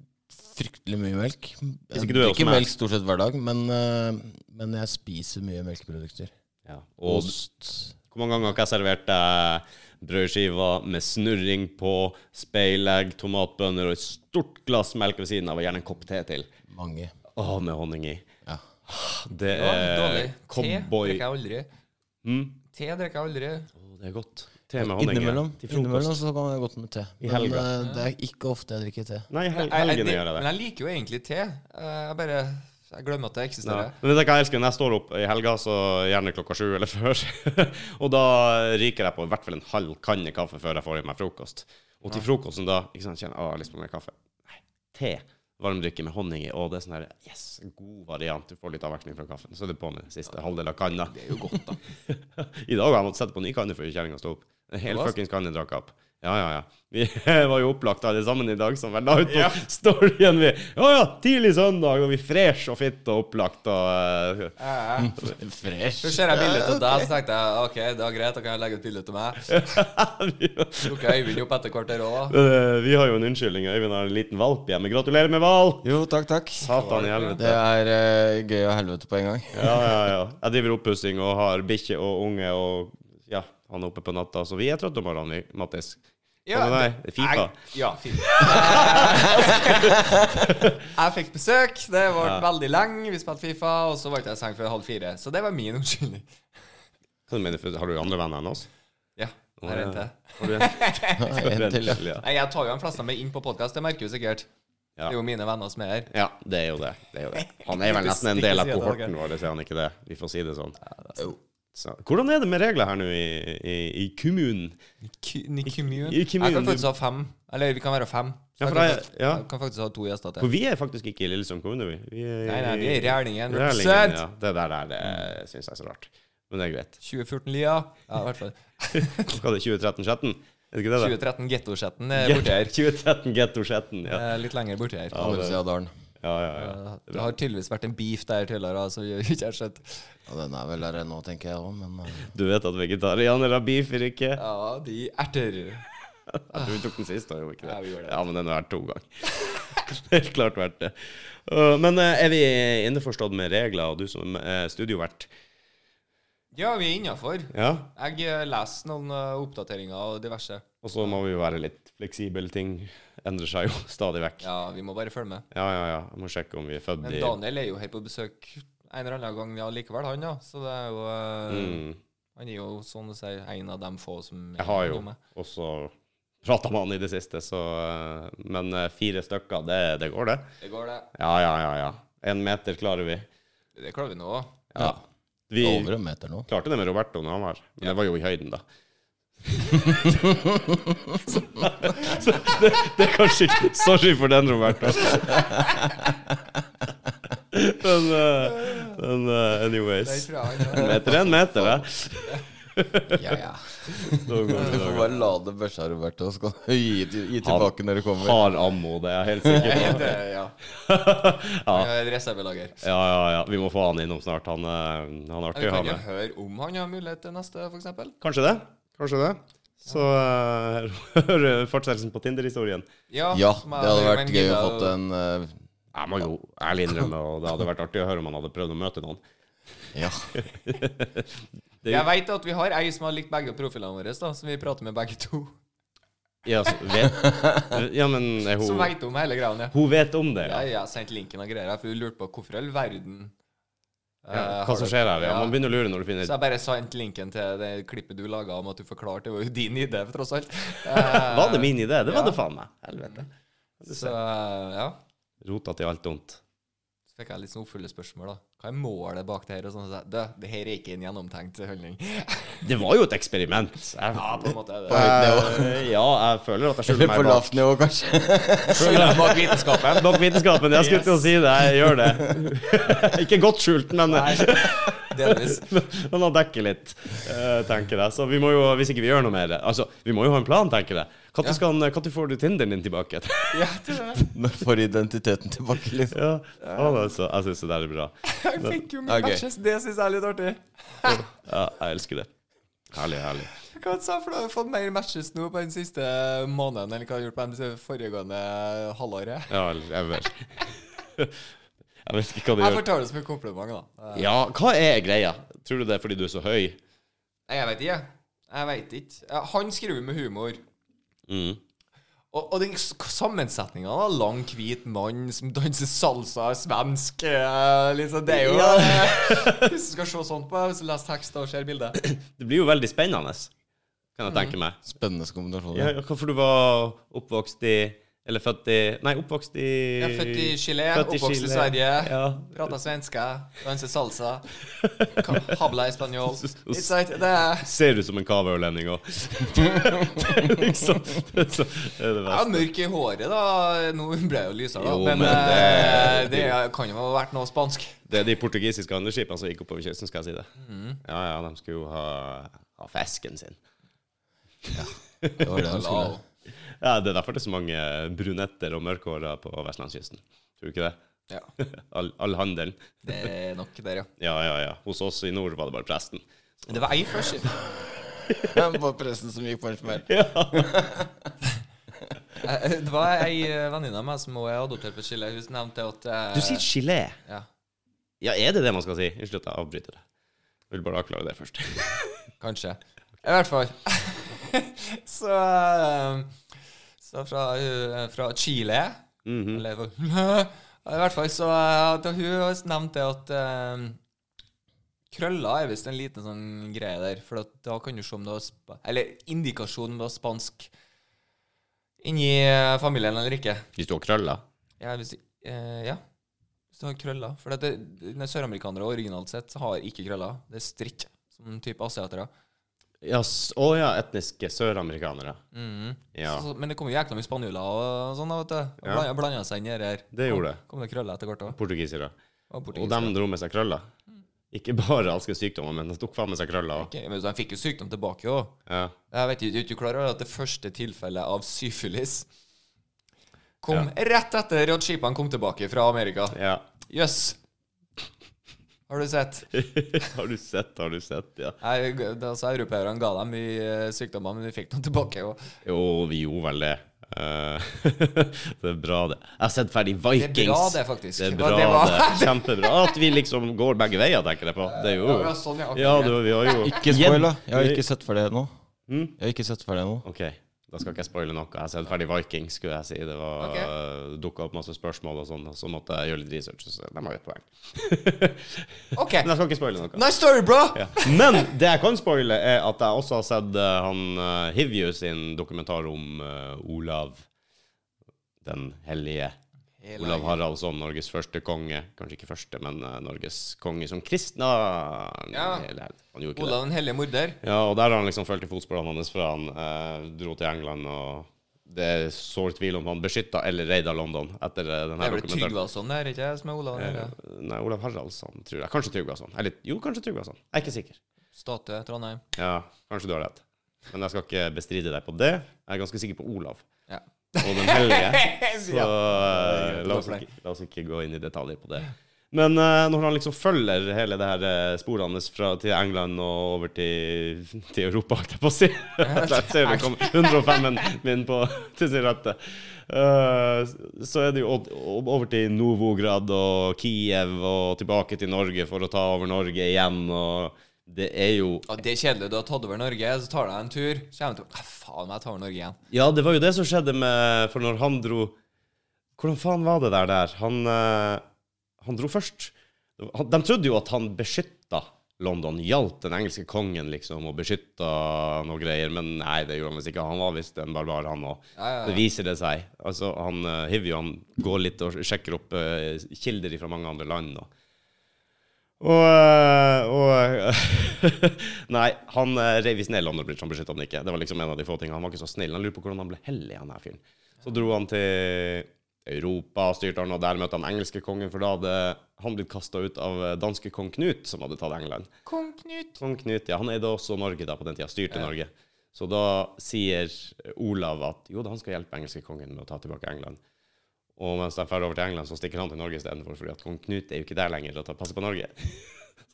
S3: fryktelig mye melk. Jeg
S1: ikke du er
S3: drikker
S1: hos meg.
S3: melk stort sett hver dag, men, eh, men jeg spiser mye melkeprodukter.
S1: Ja. Og
S3: Ost.
S1: hvor mange ganger har ikke jeg servert deg brødskiver med snurring på, speilegg, tomatbønner og et stort glass melk ved siden av, og gjerne en kopp te til.
S3: Mange.
S1: Å, med honning i.
S3: Ja.
S1: Det
S2: Ja,
S1: er
S2: dårlig. Te
S1: Eh, cowboy.
S2: drikker jeg aldri.
S1: Mm.
S2: Te drikker jeg aldri.
S1: Å, Det er godt. Te med honning. ja.
S3: Innimellom,
S1: Til frokost.
S3: innimellom så kan jeg godt med te.
S1: I
S3: Men
S1: helga.
S3: eh, det er ikke ofte jeg drikker te.
S1: Nei, hel
S2: Jeg- jeg-
S1: helgene gjør jeg det.
S2: Men jeg liker jo egentlig te. Eh, Jeg bare jeg glemmer at det
S1: Ja.
S2: eksisterer.
S1: Men vet du hva jeg elsker? Når jeg står opp i helga, så gjerne klokka sju eller før. og da ryker jeg på i hvert fall en halv kanne kaffe før jeg får i meg frokost. Og til frokosten da ikke sant, kjenner jeg «Å, jeg har lyst på mer kaffe. Nei, te. Varmdrikke med honning i. Og det er sånn her Yes, god variant. Du får litt avveksling fra kaffen. Så er det på med den siste halvdelen av kanna.
S2: Det er jo godt, da.
S1: I dag har jeg måttet sette på ny kanne før kjerringa sto opp. En hel
S2: Hva?
S1: fuckings kanne drakk jeg opp. Ja, ja, ja. Vi var jo opplagt alle sammen i dag, som jeg la ut på storyen. Vi Ja, ja, tidlig søndag, og vi fresh og fitt og opplagt og eh,
S2: Eh, eh. Så
S3: Fresh.
S2: ser jeg bildet til deg, så tenkte jeg OK, det er greit, da kan jeg legge ut bilde til meg.
S1: vi,
S2: Tok jeg Øyvind opp etter kvarter òg, da.
S1: Eh, vi har jo en unnskyldning. Øyvind har en liten valp hjemme. Gratulerer med valp!
S3: Jo, takk, takk.
S1: Satan i
S3: Det
S1: helvete.
S3: er eh, gøy og helvete på en gang.
S1: Ja, ja, ja. Jeg driver oppussing og har bikkje og unge og ja, han er oppe på natta, så vi er trøtte om morgenen, vi, Mattis. Hva med deg? Fifa?
S2: Jeg, ja, Fifa. jeg fikk besøk. Det ble veldig lenge. Vi spilte Fifa, og så var ikke jeg i seng før halv fire. Så det var min unnskyldning.
S1: Hva mener du? Har du andre venner enn oss?
S2: Ja, her er en til.
S1: Har du en?
S3: En til. ja.
S1: ja.
S2: Nei, jeg tar jo de fleste med inn på podkast, det merker du sikkert.
S1: Ja.
S2: Det er jo mine venner som er her.
S1: Ja, det er jo det. det, er jo det. Han er vel nesten en del av kohorten vår, sier han ikke det? Vi får si det sånn. Så, hvordan er det med regler her nå i, i, i kommunen?
S2: Nikimune.
S1: I
S2: Jeg
S1: Kimune,
S2: kan
S1: du-
S2: faktisk ha fem. Eller vi kan være fem.
S1: Ja,
S2: Så jeg,
S1: for
S2: kan
S1: jeg-
S2: faktisk,
S1: ja.
S2: jeg kan faktisk ha to gjester til.
S1: For vi er faktisk ikke i Lillesand kommune, vi. vi er, i-
S2: Nei, nei, vi er i Rælingen.
S1: Rælingen,
S2: Represent!
S1: ja. Det der er det syns jeg er så rart. Men det er greit.
S2: 2014-lia. Ja, i hvert fall.
S1: Hva er det, 2013-16? Er det ikke det, da?
S2: 2013 Gettosetten er borte her.
S1: 2013 Getto 16, ja.
S2: Eh, Litt lenger borte her.
S3: Andre siden av dalen.
S1: Ja, ja, ja.
S2: Eh, Det har tydeligvis vært en beef der tidligere, så vi har ikke skjønt.
S3: Ja, den er vel der nå, tenker jeg òg, men eh,
S1: Du vet at vegetarianere har beef, eller ikke?
S2: Ja, de erter.
S1: Jeg tror vi tok den sist, da, gjorde vi ikke det?
S2: Ja, vi gjorde det.
S1: Ja, men den har vært to ganger. Helt klart verdt det. Uh, Men uh, er vi innforstått med regler, og du som er studiovert?
S2: Ja, vi er innafor.
S1: Ja.
S2: Jeg eh, leser noen eh, oppdateringer og diverse.
S1: Og så må vi jo være litt fleksible. Ting endrer seg jo stadig vekk. Ja.
S2: Ja, vi må bare følge med.
S1: ja, ja, Jeg må sjekke om vi er født
S2: Men
S1: i
S2: Daniel er jo her på besøk en eller annen gang ja, likevel, han, ja. Så det er jo eh,
S1: mm.
S2: Han er jo sånn å si en av de få som
S1: Jeg har jo
S2: dumme.
S1: også prata med han i det siste, så uh, Men uh, fire stykker, det, det går, det.
S2: Det går, det.
S1: Ja, ja, ja. ja. Én meter klarer vi.
S2: Det klarer vi nå òg.
S1: Ja. Vi
S3: over en meter nå.
S1: klarte det med Roberto når han var her, men det var jo i høyden, da. så det, det er kanskje ikke Sorry for den, Roberto. men eh, men eh, anyways. En meter er en meter, det.
S3: Ja, ja.
S1: Da går
S3: Du
S1: det, da
S3: får
S1: går det.
S3: bare lade børsa, Roberto, så kan du gi, gi tilbake når du kommer.
S1: Har ammo, det er jeg helt sikker på.
S2: Det, ja.
S1: Ja.
S2: Han har Reservelager.
S1: Ja, ja, ja. Vi må få han innom snart. Han, eh, han
S2: Vi
S1: er artig å ha
S2: kan jo
S1: med.
S2: høre om han har mulighet til neste, for eksempel
S1: Kanskje det. Kanskje det. Så eh, hør fortsettelsen på Tinder-historien.
S3: Ja,
S2: som
S3: det
S2: jeg-
S3: hadde
S2: men
S3: vært gøy å
S2: Gilla-
S3: fått en eh,
S1: Jeg må jo ærlig innrømme, og det hadde vært artig å høre om han hadde prøvd å møte noen.
S3: Ja.
S2: Jeg veit at vi har ei som har likt begge profilene våre, da, som vi prater med begge to.
S1: Ja, så, vet, ja men er
S2: Som
S1: hun
S2: veit om hele greia.
S1: Hun vet om det,
S2: Ja,
S1: ja.
S2: jeg har sendt linken og greier, for hun lurte på hvorfor i all verden eh,
S1: Ja, Hva
S2: har
S1: som
S2: dere-
S1: skjer her? Ja.
S2: Ja.
S1: Man begynner å lure når du
S2: Så
S1: finner
S2: jeg bare sendt linken til det klippet du laga om at du forklarte. Det var jo din idé, for tross alt. Eh,
S1: Var det min idé? Det var
S2: ja.
S1: det faen meg. Helvete.
S2: Så ja.
S1: Rota til alt dumt.
S2: Så fikk jeg litt sånn oppfyllende spørsmål, da. Hva er målet bak det her? Og sånn, så jeg, «Dø, det her er ikke en gjennomtenkt holdning.
S1: Det var jo et eksperiment. Jeg,
S2: Ja, på en måte er det.
S3: høyt
S1: Eh, ja, jeg føler at jeg skjuler
S3: På
S1: meg bak.
S3: lavt nivå, kanskje.
S2: Skylda bak vitenskapen.
S1: Bak vitenskapen. Jeg skulle til å si det. Jeg gjør det. Ikke godt skjult, men
S2: Delvis.
S1: Men han dekker litt, eh, tenker jeg. Så vi må jo, hvis ikke vi gjør noe med det Altså, vi må jo ha en plan, tenker jeg. Når
S2: Ja.
S1: skal han- når får du Tinderen din tilbake?
S2: Ja, tror jeg.
S3: Men får identiteten tilbake, liksom.
S1: ja, faen, altså. Jeg syns det der er bra.
S2: jeg fikk jo mye
S3: Ja, gøy.
S2: matches. Det syns jeg er litt artig.
S1: Ja, jeg elsker det. Herlig, herlig.
S2: Hva sa for du har fått mer matches nå på den siste måneden enn hva du har gjort på den foregående halvåret?
S1: Ja, eller jeg vet Jeg vet ikke hva det
S2: Jeg
S1: gjør.
S2: får ta det som en kompliment, da. Eh,
S1: Ja, hva er greia? Tror du det er fordi du er så høy?
S2: Nei, jeg vet ikke. Jeg vet ikke. Eh, Han skriver med humor.
S1: Mm.
S2: Og, og den s- sammensetningen da. Lang, hvit mann som danser salsa, er svensk eh, liksom, Det er jo Hvis du skal se sånt på, så les tekst og ser bildet.
S1: Det blir jo veldig spennende, kan jeg
S2: Mm.
S1: tenke meg.
S3: Spennende kombinasjon.
S1: Ja, ja, hvorfor du var oppvokst i Eller født i Nei, oppvokst i
S2: Jeg er født i Chile,
S1: Født i
S2: oppvokst i
S1: Chile.
S2: Sverige.
S1: Ja.
S2: Prater svenske, danser salsa. ka- Habla i spanjol. It's right, det er
S1: Ser ut som en kavaørlending òg. liksom. Det er så- det er det
S2: jeg er
S1: beste.
S2: mørk i håret, da. Nå ble jeg jo lysere, da.
S1: Jo,
S2: men
S1: men
S2: eh,
S1: det-
S2: det, kan jo ha vært noe spansk.
S1: Det er de portugisiske handleskipene som gikk oppover kysten, skal jeg si det. Ja, ja, de skulle jo ha, ha fisken sin.
S3: Det var det han skulle.
S1: Ja, Det er derfor det er så mange brunetter og mørkhåra på vestlandskysten. Tror du ikke det?
S2: Ja,
S1: All, all handelen.
S2: det er nok der, ja.
S1: Ja, ja, ja. Hos oss i nord var det bare presten.
S2: Det var ei først.
S3: Det var presten som gikk på en smell.
S2: Eh, Det var ei eh, venninne av meg som også er adoptert på Chile. Hun nevnte at eh,
S1: Du sier gelé.
S2: ja.
S1: Ja, er det det man skal si? Unnskyld at jeg avbryter det. Jeg vil bare avklare det først.
S2: Kanskje. I hvert fall. så eh, Så fra, hun- eh, fra Chile
S1: Mhm.
S2: Eller hvor- I hvert fall så eh, da Hun nevnte at eh, krøller er visst en liten sånn greie der. For at da kan du se om du har spa Eller indikasjon om du har spansk inni eh, familien eller ikke.
S1: Hvis du har krøller?
S2: Ja, hvis de, eh, ja. Hvis du har krøller. For at det, når søramerikanere originalt sett har ikke krøller. Det er stritt, som type asiatere.
S1: Ja, s- å ja, etniske søramerikanere. Ja.
S2: Så, så- men det kom jo jækla mye spanjoler og sånn, da, vet du. Og
S1: Ja.
S2: blanda, blanda seg inn i det her.
S1: Det gjorde det.
S2: Kom det krøller etter hvert òg.
S1: Portugisere.
S2: Og
S1: Og
S2: portugisere.
S1: de dro med seg krøller. Ikke bare alske sykdommer, men de tok faen med seg krøller. også.
S2: Ok, men de fikk jo sykdom tilbake òg.
S1: Ja.
S2: Jeg vet ikke, er du klar over at det første tilfellet av syfilis kom rett etter at skipene kom tilbake fra Amerika?
S1: ja.
S2: Jøss! Har du sett?
S1: har du sett, har du sett, ja.
S2: Nei, g- altså, Europeerne ga dem i eh, sykdommer, men de fikk dem tilbake. Og
S1: Jo, vi gjorde vel det. Eh, det er bra, det. Jeg har sett ferdig Vikings.
S2: Det er bra, det, faktisk.
S1: Det er
S2: Ja,
S1: bra,
S2: det var-
S1: det. Kjempebra at vi liksom går begge veier, tenker jeg på. Det er jo
S2: Ja, ja, sånn, ja, ok,
S1: Ja,
S2: greit.
S1: du, vi har jo Mm.
S3: Ikke spoil, da. Jeg har ikke sett ferdig ennå. Jeg har ikke sett ferdig ennå.
S1: OK, da skal ikke jeg spoile noe. Jeg har sett ferdig Vikings, skulle jeg si. Det var
S2: Ok.
S1: okay. dukka opp masse spørsmål og sånn, og så måtte jeg gjøre litt research. Så de har jo et poeng.
S2: OK.
S1: Men jeg skal ikke spoile noe.
S2: Nice story, bro!
S1: Ja. Men det jeg kan spoile, er at jeg også har sett eh, han eh, Hivju sin dokumentar om eh, Olav den hellige. Olav Haraldsson, Norges første konge. Kanskje ikke første, men eh, Norges konge som kristna.
S2: Ja.
S1: Hele- Han gjorde ikke det.
S2: Olav den hellige morder.
S1: Ja, og der har han liksom fulgt i fotsporene hans fra han eh, dro til England og det er sår tvil om han beskytta eller raida London etter eh, den
S2: Det
S1: her
S2: er vel
S1: dokumentaren.
S2: Tryggvason der, ikke jeg, som er Olav den hellige?
S1: Eh, Nei, Olav Haraldsson, tror jeg. Kanskje Tryggvason. Eller jo, kanskje Tryggvason. Jeg er ikke sikker.
S2: Statue, Trondheim.
S1: Ja, kanskje du har rett. Men jeg skal ikke bestride deg på det. Jeg er ganske sikker på Olav
S2: Ja.
S1: og Den hellige. Så
S2: Ja.
S1: eh,
S2: greit,
S1: la, oss
S2: det var
S1: ikke, la oss ikke gå inn i detaljer på det. Men eh, når han liksom følger hele det her eh, sporet hans fra til England og over til, til Europa, holdt jeg på å si Da ser vi kom 105-en min på, til sin rette. Eh, så er det jo o- o- over til Novograd og Kiev og tilbake til Norge for å ta over Norge igjen. Og det er jo
S2: Ja, det er kjedelig. Du har tatt over Norge, så tar du deg en tur. Så kommer du til «Nei, Faen, jeg tar over Norge igjen.
S1: Ja, det var jo det som skjedde med For når han dro Hvordan faen var det der? der? Han, eh, han dro først. Han, de trodde jo at han beskytta London, hjalp den engelske kongen liksom, og beskytta noe greier, men nei, det gjorde han visst ikke. Han var visst en barbar, han òg.
S2: ja, ja.
S1: Det viser det seg. Altså, han eh, hiver jo, han går litt og sjekker opp eh, kilder fra mange andre land. Og, og, eh, og eh, Nei, han eh, reiv visst ned London Bridge, han beskytta den ikke. Det var liksom en av de få tingene. Han var ikke så snill. Han lurer på hvordan han ble hellig, han her fyren. Så dro han til Europa, styrte han, og der møtte han engelske kongen, for da hadde han blitt kasta ut av eh, danske kong Knut, som hadde tatt England.
S2: Kong Knut.
S1: Kong Sånn Knut, ja, han eide også Norge da på den tida, styrte Norge. Så da sier Olav at jo da, han skal hjelpe engelske kongen med å ta tilbake England. Og mens de drar over til England, så stikker han til Norge istedenfor, fordi at kong Knut er jo ikke der lenger og tar- passer på Norge.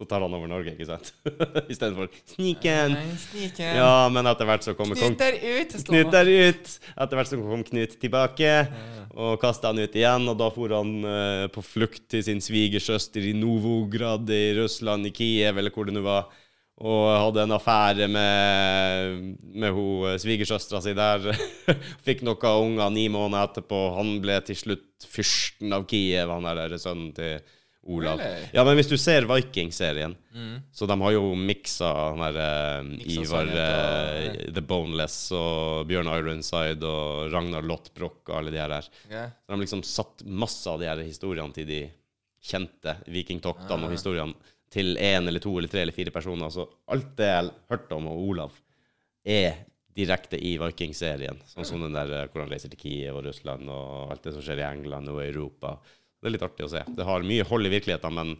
S1: Så tar han over Norge, ikke sant? Istedenfor sniken.
S2: Sniken.
S1: Ja, men etter hvert så kommer kong
S2: Knut der ute. står
S1: Knut
S2: det.
S1: der ut. Etter hvert så kom Knut tilbake og kasta han ut igjen. Og da for han eh, på flukt til sin svigersøster i Novograd i Russland, i Kiev, eller hvor det nå var. Og hadde en affære med, med hun eh, svigersøstera si der. Fikk noen unger ni måneder etterpå. Han ble til slutt fyrsten av Kiev, han der sønnen til Olav.
S2: Really?
S1: Ja, men hvis du ser Viking-serien,
S3: Mm.
S1: så de har jo miksa han der eh,
S2: Ikke
S1: Ivar
S2: sant, og-
S1: eh, The Boneless og Bjørn Ironside og Ragnar Lottbrokk og alle de her. her.
S2: Ja.
S1: De har liksom satt masse av de her historiene til de kjente vikingtoktene og historiene til én eller to eller tre eller fire personer. Så alt det jeg hørte om og Olav, er direkte i Viking-serien. Sånn som den der eh, hvor han reiser til Kiev og Russland og alt det som skjer i England og Europa. Det er litt artig å se. Det har mye hold i virkeligheten, men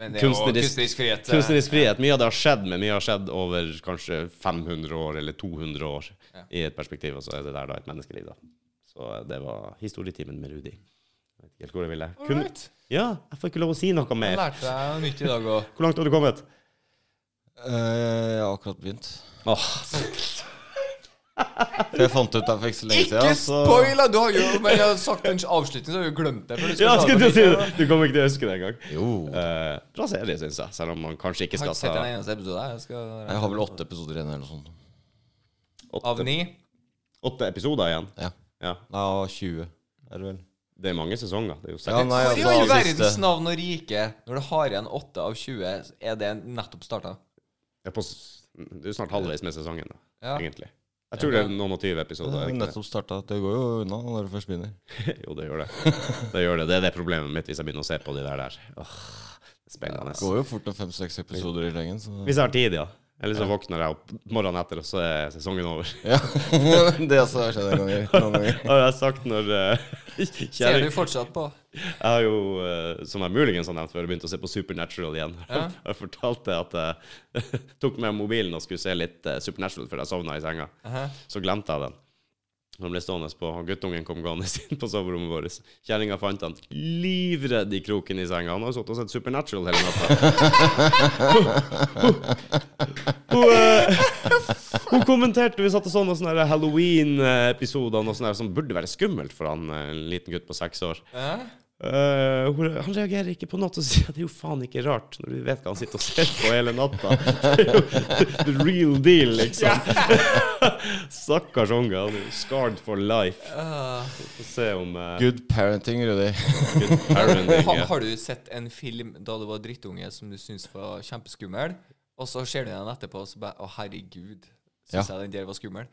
S2: Men det er jo
S1: Kunstnerisk-
S2: kunstnerisk frihet. eh,
S1: Kunstnerisk frihet. Mye av det har skjedd, men mye har skjedd over kanskje 500 år eller 200 år i et perspektiv, og så er det der da et menneskeliv, da. Så eh, det var historietimen med Rudi. Jeg vet ikke helt hvor jeg ville. Kun-
S2: Alright.
S1: Ja, jeg får ikke lov å si noe
S2: Jeg
S1: mer.
S2: lærte deg noe nytt i dag òg.
S1: Hvor langt har du kommet?
S3: Eh, jeg har akkurat begynt.
S1: Åh,
S3: For jeg fant ut det for ikke så lenge
S2: Ikke
S3: siden. Så...
S2: spoil! da! Du har jo men jeg har sagt en avslutning, så har du jo glemt det. for du
S1: ja,
S2: ta
S1: skulle til å
S2: på
S1: si
S2: nytt.
S1: det! Du kommer ikke til å huske det engang.
S3: Jo,
S1: Eh, bra serie, syns jeg, selv om man kanskje ikke
S2: Jeg har
S1: skal
S2: ikke sett en
S1: ta
S2: eneste episode. Jeg skal...
S3: jeg har vel åtte episoder igjen eller noe sånt.
S2: Av
S1: åtte,
S2: ni.
S1: åtte episoder igjen.
S3: Ja.
S1: Ja.
S3: Nei, 20 er det vel.
S1: Det er mange sesonger. Det er jo seks.
S3: Ja, nei,
S2: Hvor i
S3: altså,
S2: all
S3: av
S2: verdens
S3: siste-
S2: navn og rike, når du har igjen åtte av 20, så er det nettopp starta?
S1: Det er, på, s- det er jo snart halvveis med sesongen, da,
S2: Ja.
S1: egentlig. Jeg tror det er noen og tyve episoder.
S3: Det
S1: er
S3: er
S1: det ikke det?
S3: nettopp starta. Det går jo unna når du først begynner.
S1: Jo, det gjør det. Det gjør det. Det er det problemet mitt hvis jeg begynner å se på de der der. Åh, det er spennende.
S3: Det går jo fort med fem-seks episoder i slengen. Så...
S1: Hvis jeg har tid, ja. Eller så våkner jeg opp morgenen etter, og så er sesongen over.
S3: Ja, det har også skjedd en gang. Noen ganger.
S1: Har jeg sagt når uh,
S2: Ser du
S1: kjæring
S2: fortsatt på?
S1: Jeg har jo, eh, som jeg muligens har nevnt før, begynt å se på Supernatural igjen.
S2: Ja.
S1: Jeg fortalte at jeg tok med mobilen og skulle se litt eh, Supernatural før jeg sovna i senga.
S2: Aha.
S1: Så glemte jeg den. Den ble stående på, og guttungen kom gående inn på soverommet vårt. Kjerringa fant han livredd i kroken i senga. Han har jo sittet og sett Supernatural hele natta. hun, eh, hun kommenterte Vi satt og så noen sånne her Halloween-episoder noe sånt her som burde være skummelt for han, eh, en liten gutt på seks år.
S2: Ja.
S1: Eh, hvor- han reagerer ikke på noe og sier at det er jo faen ikke rart, når du vet hva han sitter og ser på hele natta. Det er jo the real deal, liksom. Stakkars unge. Han er jo scarred for life.
S2: Ah.
S1: Få se om eh,
S3: Good parenting, Rudi.
S1: good parenting
S2: Har,
S1: eh,
S2: har du sett en film da du var drittunge som du syntes var kjempeskummel, og så ser du den etterpå og så bare Å, herregud, syns jeg den der var skummel?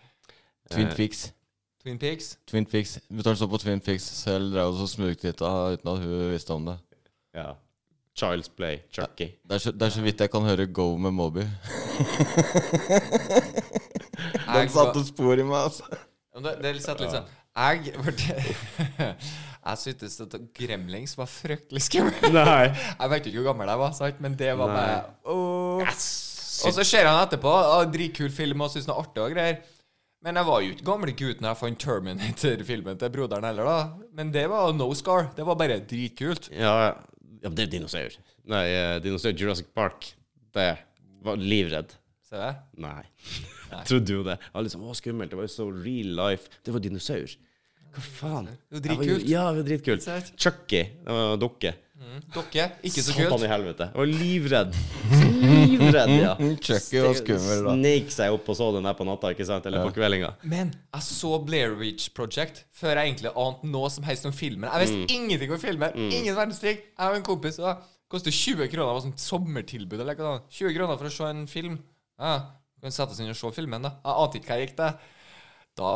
S3: Twin Peaks.
S2: Twin Pigs?
S3: Twin Peaks. Mutter'n så på Twin Peaks selv, drev og så smugte hit da, uten at hun visste om det.
S1: ja. Child's Play, Chucky.
S3: Det er, så, det er så vidt jeg kan høre Go med Moby. Den
S2: Jeg var-
S3: satte spor i meg, altså.
S2: Ja, Det, det er litt sett litt sånn Jeg ble- Jeg syntes at Gremlings var fryktelig skummel.
S1: Nei.
S2: Jeg vet jo ikke hvor gammel jeg var, sant? men det var bare
S1: Nei.
S2: åh.
S1: Yes.
S2: Og så ser han etterpå. Ah, Dritkul film og syns den er artig og greier. Men jeg var jo ikke gamle gutten da jeg fant Terminator-filmen til broderen heller, da. Men det var no scar. Det var bare dritkult.
S1: Ja, Ja, men det er jo dinosaur. Nei, eh, dinosaur Jurassic Park. Det var livredd.
S2: Ser jeg?
S1: Nei. Trodde jo det. Alle liksom, Å, skummelt. Det var jo så real life. Det var dinosaur. Hva faen?
S2: Det var
S1: Jeg
S2: dritkult.
S1: Ja, det var dritkult.
S2: Ikke sant?
S1: Chucky. Det var en dukke.
S2: Dere, ikke så
S1: Satan
S2: kult.
S1: i helvete. Jeg var livredd. Så Livredd, ja.
S3: Chucky var skummel, da.
S1: Snek seg opp og så den der på natta, ikke sant? Eller på kveldinga.
S2: Men jeg så Blair Witch Project før jeg egentlig ante noe som helst om filmen. Jeg
S1: Mm.
S2: visste ingenting om filmen. Ingen verdens ting. Jeg og en kompis og det koster 20 kroner. Det var sånn sommertilbud eller noe sånt. 20 kroner for å se en film. Ja, du kan sette oss inn og se filmen, da. Jeg ante ikke hva jeg gikk til. Da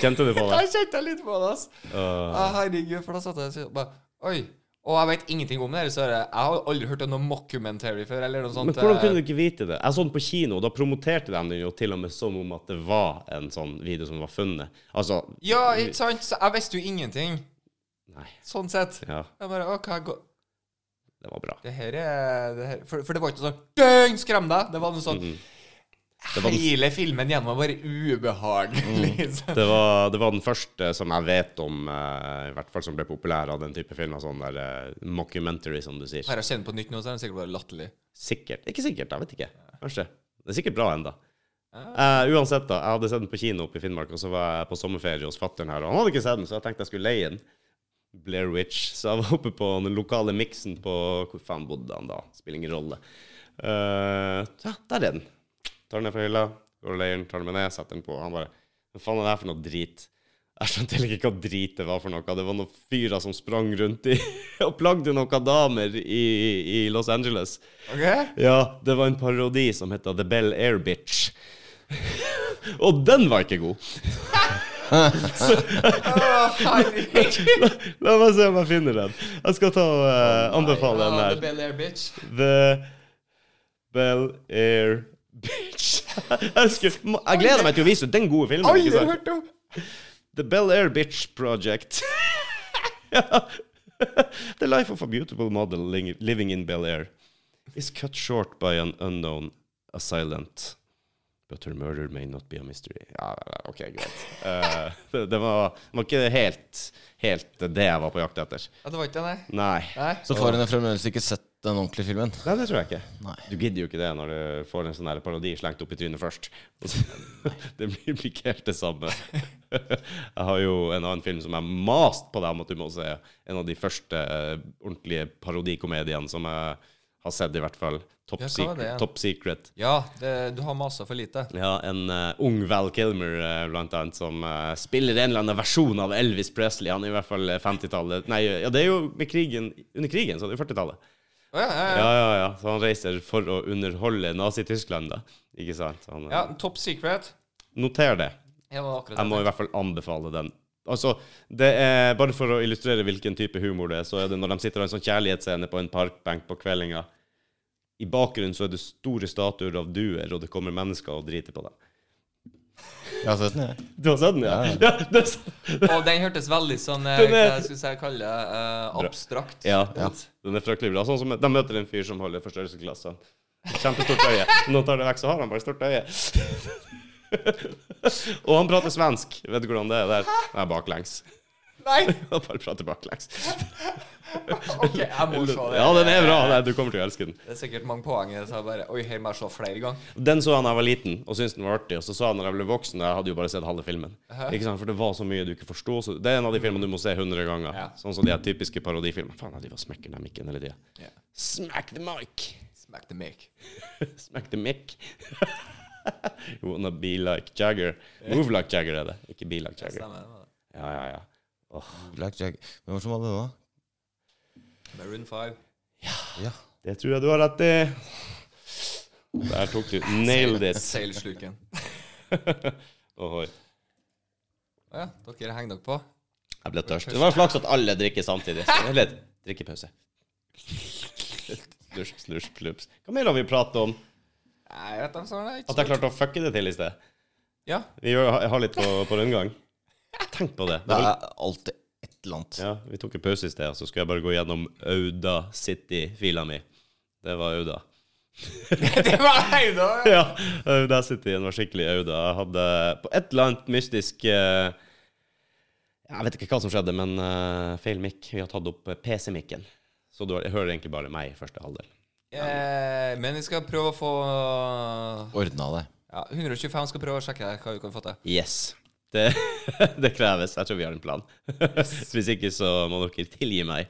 S1: Kjente du på
S2: Da
S1: det?
S2: kjente jeg litt på det, ass.
S1: Uh,
S2: Ja, herregud, for da satt jeg og sier bare Oi. Og jeg vet ingenting om det. her, Så er det- jeg har aldri hørt om noe mockumentary før. Eller noe sånt.
S1: men hvordan
S2: eh,
S1: kunne du ikke vite det? Jeg så den på kino, og da promoterte de den jo til og med som om at det var en sånn video som var funnet. Altså
S2: Ja, ikke sant? Så jeg visste jo ingenting.
S1: Nei.
S2: Sånn sett.
S1: Ja,
S2: Jeg bare OK, gå
S1: det var bra.
S2: Det her er det her. For, for det var ikke sånn Døgn, skrem deg! Det var noe sånn
S1: Mm. var Mm. den-
S2: Hele filmen gjennom var bare ubehagelig. liksom.
S1: Det var, det var den første som jeg vet om, eh, i hvert fall som ble populær av den type filmer, sånn der eh, mockumentary, som du sier.
S2: Her jeg kjenner på nytt nå, så er den sikkert bare latterlig.
S1: Sikkert. Ikke sikkert, jeg vet ikke. Kanskje. Det er sikkert bra enda. Eh, uansett, da. Jeg hadde sett den på kino oppe i Finnmark, og så var jeg på sommerferie hos fatter'n her, og han hadde ikke sett den, så jeg tenkte jeg skulle leie den. Blair Witch. Så jeg var oppe på den lokale miksen på Hvor faen bodde han da? Spiller ingen rolle. Eh, ja, der er den. Tar den ned fra hylla, går og leier den, tar den med ned, setter den på. Han bare Hva faen er det her for noe drit? Jeg skjønte heller ikke hva drit det var for noe. Det var noen fyrer som sprang rundt i og plagde noen damer i, i Los Angeles.
S2: Ok?
S1: Ja, det var en parodi som heter The Bell Air Bitch. Og den var ikke god.
S2: Å, herregud.
S1: La meg se om jeg finner den. Jeg skal ta og eh, anbefale den
S2: Ja,
S1: her.
S2: The Bel Air Bitch.
S1: The Bell Air Bitch. Jeg, skulle, må- jeg gleder meg til å vise ut den gode filmen.
S2: Aldri
S1: Ikke sant?
S2: hørt om!
S1: The Bell Air Bitch Project. ja. The life of a beautiful model ling- living in Bel Air is cut short by an unknown assailant. But her murder may not be a mystery. Ja, ja, ja, OK, greit. Eh, det, det, var, det var ikke helt, helt det jeg var på jakt etter.
S2: Ja, det var ikke det, nei.
S1: Nei.
S2: nei.
S3: Så får hun fremdeles ikke sett den ordentlige filmen.
S1: Nei, det tror jeg ikke.
S3: Nei.
S1: Du gidder jo ikke det når du får en sånn her parodi slengt opp i trynet først. det blir blir ikke helt det samme. jeg har jo en annen film som jeg mast på deg om at du må se. En av de første eh, ordentlige parodikomediene som jeg har sett, i hvert fall. Top,
S2: Ja, hva var
S1: secret,
S2: det igjen?
S1: Top Secret.
S2: Ja, det, du har masa for lite.
S1: Ja, en eh, ung Val Kilmer, eh, blant annet, som eh, spiller en eller annen versjon av Elvis Presley. Han er i hvert fall eh, 50-tallet. Nei, ja, det er jo med krigen, under krigen, så det er jo 40-tallet.
S2: Å ja, ja, ja.
S1: Ja, ja, ja. Så han reiser for å underholde Nazi-Tyskland, da. Ikke sant? Han, eh,
S2: ja, Top Secret.
S1: Noter det.
S2: Ja, det var akkurat
S1: Jeg må i hvert fall anbefale den. Altså, det er, Bare for å illustrere hvilken type humor det er, så er det når de sitter og har en sånn kjærlighetsscene på en parkbenk på kveldinga. I bakgrunnen så er det store statuer av duer, og det kommer mennesker og driter på dem.
S3: Jeg har sett den, jeg.
S1: Du har sett den, ja? Ja, det er sant.
S2: Og den hørtes veldig sånn eh,
S1: Den
S2: Hva
S1: er-
S2: skal jeg kalle det? eh, abstrakt.
S1: ja, Den er fryktelig bra. Sånn som De møter en fyr som holder forstørrelsesglassene. Kjempestort øye. Nå tar det vekk, så har han bare stort øye. Og han prater svensk. Vet du hvordan det er der? Det er baklengs.
S2: Nei!
S1: Han bare prater baklengs.
S2: OK, jeg må se det.
S1: Ja, den er bra. Nei, Du kommer til å elske den.
S2: Det er sikkert mange poeng i det, så jeg bare Oi, her må jeg se flere ganger.
S1: Den så jeg da jeg var liten, og syntes den var artig. Og så sa jeg når jeg ble voksen, og jeg hadde jo bare sett halve filmen. Ikke sant? For det var så mye du ikke forsto. Så det er en av de filmene du må se 100 ganger.
S2: Ja.
S1: Sånn som de her typiske parodifilmene. Faen, jeg driver og smekker den mikken hele tida.
S2: Ja.
S1: Smack the mic!
S2: Smack the mic.
S1: Smack the mic. you wanna be like Jagger. Move like Jagger er det, ikke be like Jagger.
S2: Stemmer. det var det.
S1: Ja, ja, ja. Åh,
S3: Black Jack. Hvem var det som hadde den, da?
S2: Maroon 5.
S3: Ja.
S1: det tror jeg du har rett i. Der tok du. Nailed it.
S2: Seilsluken.
S1: Ohoi.
S2: Å ja, dere henger dere på?
S1: Jeg ble tørst. Det var flaks at alle drikker samtidig. Så det er litt drikkepause. Slurp, slurp, slurp. Hva mer har vi pratet om?
S2: Nei, jeg vet da sånn, det er
S1: At jeg
S2: ikke så-
S1: klarte å fucke det til i sted?
S2: Ja.
S1: Vi gjør- har litt på, på rundgang. Tenk på det.
S3: Det er alltid et eller annet.
S1: Ja, vi tok en pause i sted, og så skulle jeg bare gå gjennom Auda City-fila mi. Det var Auda.
S2: det var jeg, da!
S1: Ja, eh, Auda City den var skikkelig Auda. Jeg hadde på et eller annet mystisk eh, Jeg vet ikke hva som skjedde, men eh, feil mic. Vi har tatt opp PC-mikken. Så du har- jeg hører egentlig bare meg i første halvdel.
S2: Eh, men vi skal prøve å få
S3: Ordna det.
S2: ja, 125 skal prøve å sjekke hva vi kan få til.
S1: Yes. Det, det kreves. Jeg tror vi har en plan. Hvis ikke, så må dere tilgi meg.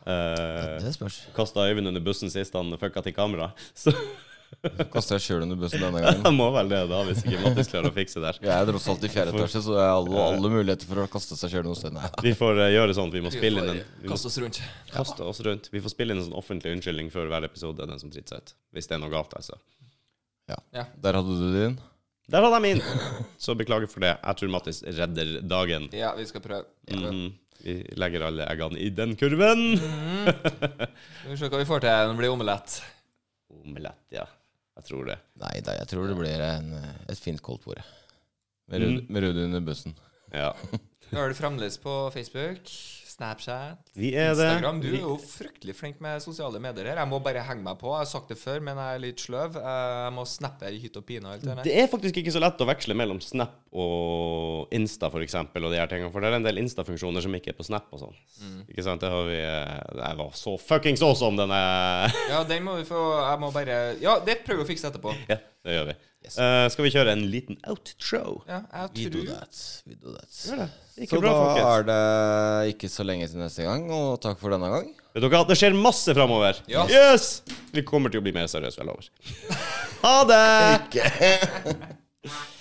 S1: Uh,
S3: Det spørs.
S1: Kasta Øyvind under bussen sist han fucka til kamera. Så
S3: Kasta jeg sjøl under bussen denne gangen.
S1: jeg må vel det, da, hvis ikke Mattis klarer å fikse det. her.
S3: Jeg er tross alt i fjerde etasje, så jeg har alle, alle muligheter for å kaste seg sjøl noe sted. Nei.
S1: Vi får eh, gjøre sånn at vi må
S2: Vi
S1: spille inn
S2: får
S1: en vi må
S2: kaste oss rundt.
S1: kaste oss rundt. Vi får spille inn en sånn offentlig unnskyldning før hver episode, den som driter seg ut. Hvis det er noe galt, altså.
S3: Der hadde du din.
S1: Der hadde jeg min! Så beklager for det. Jeg tror Mattis redder dagen.
S2: Ja, vi skal prøve.
S1: Mhm. Vi legger alle eggene i den kurven.
S2: Vi får se hva vi får til når det blir omelett.
S1: Omelett, ja. Jeg tror det.
S3: Nei da, jeg tror det blir en, et fint koldtbord. Med
S1: Mm.
S3: Rudi med Rudi under bussen.
S1: Ja.
S2: Vi har det fremdeles på Facebook, Snapchat,
S1: Vi er det.
S2: Instagram. Du
S1: Vi-
S2: er jo fryktelig flink med sosiale medier her. Jeg må bare henge meg på. Jeg har sagt det før, men jeg er litt sløv. Eh, Jeg må snappe i hytt og pine og alt det der.
S1: Det er faktisk ikke så lett å veksle mellom Snap og Insta, for eksempel, og de her tingene, for det er en del Insta-funksjoner som ikke er på Snap og sånn. Ikke sant? Det har vi eh, Det var så fuckings awesome, denne
S2: Ja, den må vi få Jeg må bare Ja, det prøver vi å fikse etterpå.
S1: Ja, det gjør vi. Eh, skal vi kjøre en liten outro?
S2: Ja, jeg tror
S3: that. We do that.
S1: Gjør det. Det gikk
S3: Så
S1: jo bra,
S3: da
S1: folkens.
S3: er det ikke så lenge til neste gang, og takk for denne gang.
S1: Vet dere at det skjer masse framover?
S2: Ja.
S1: Yes! Vi kommer til å bli mer seriøse, jeg lover. Ha det!
S3: Ikke.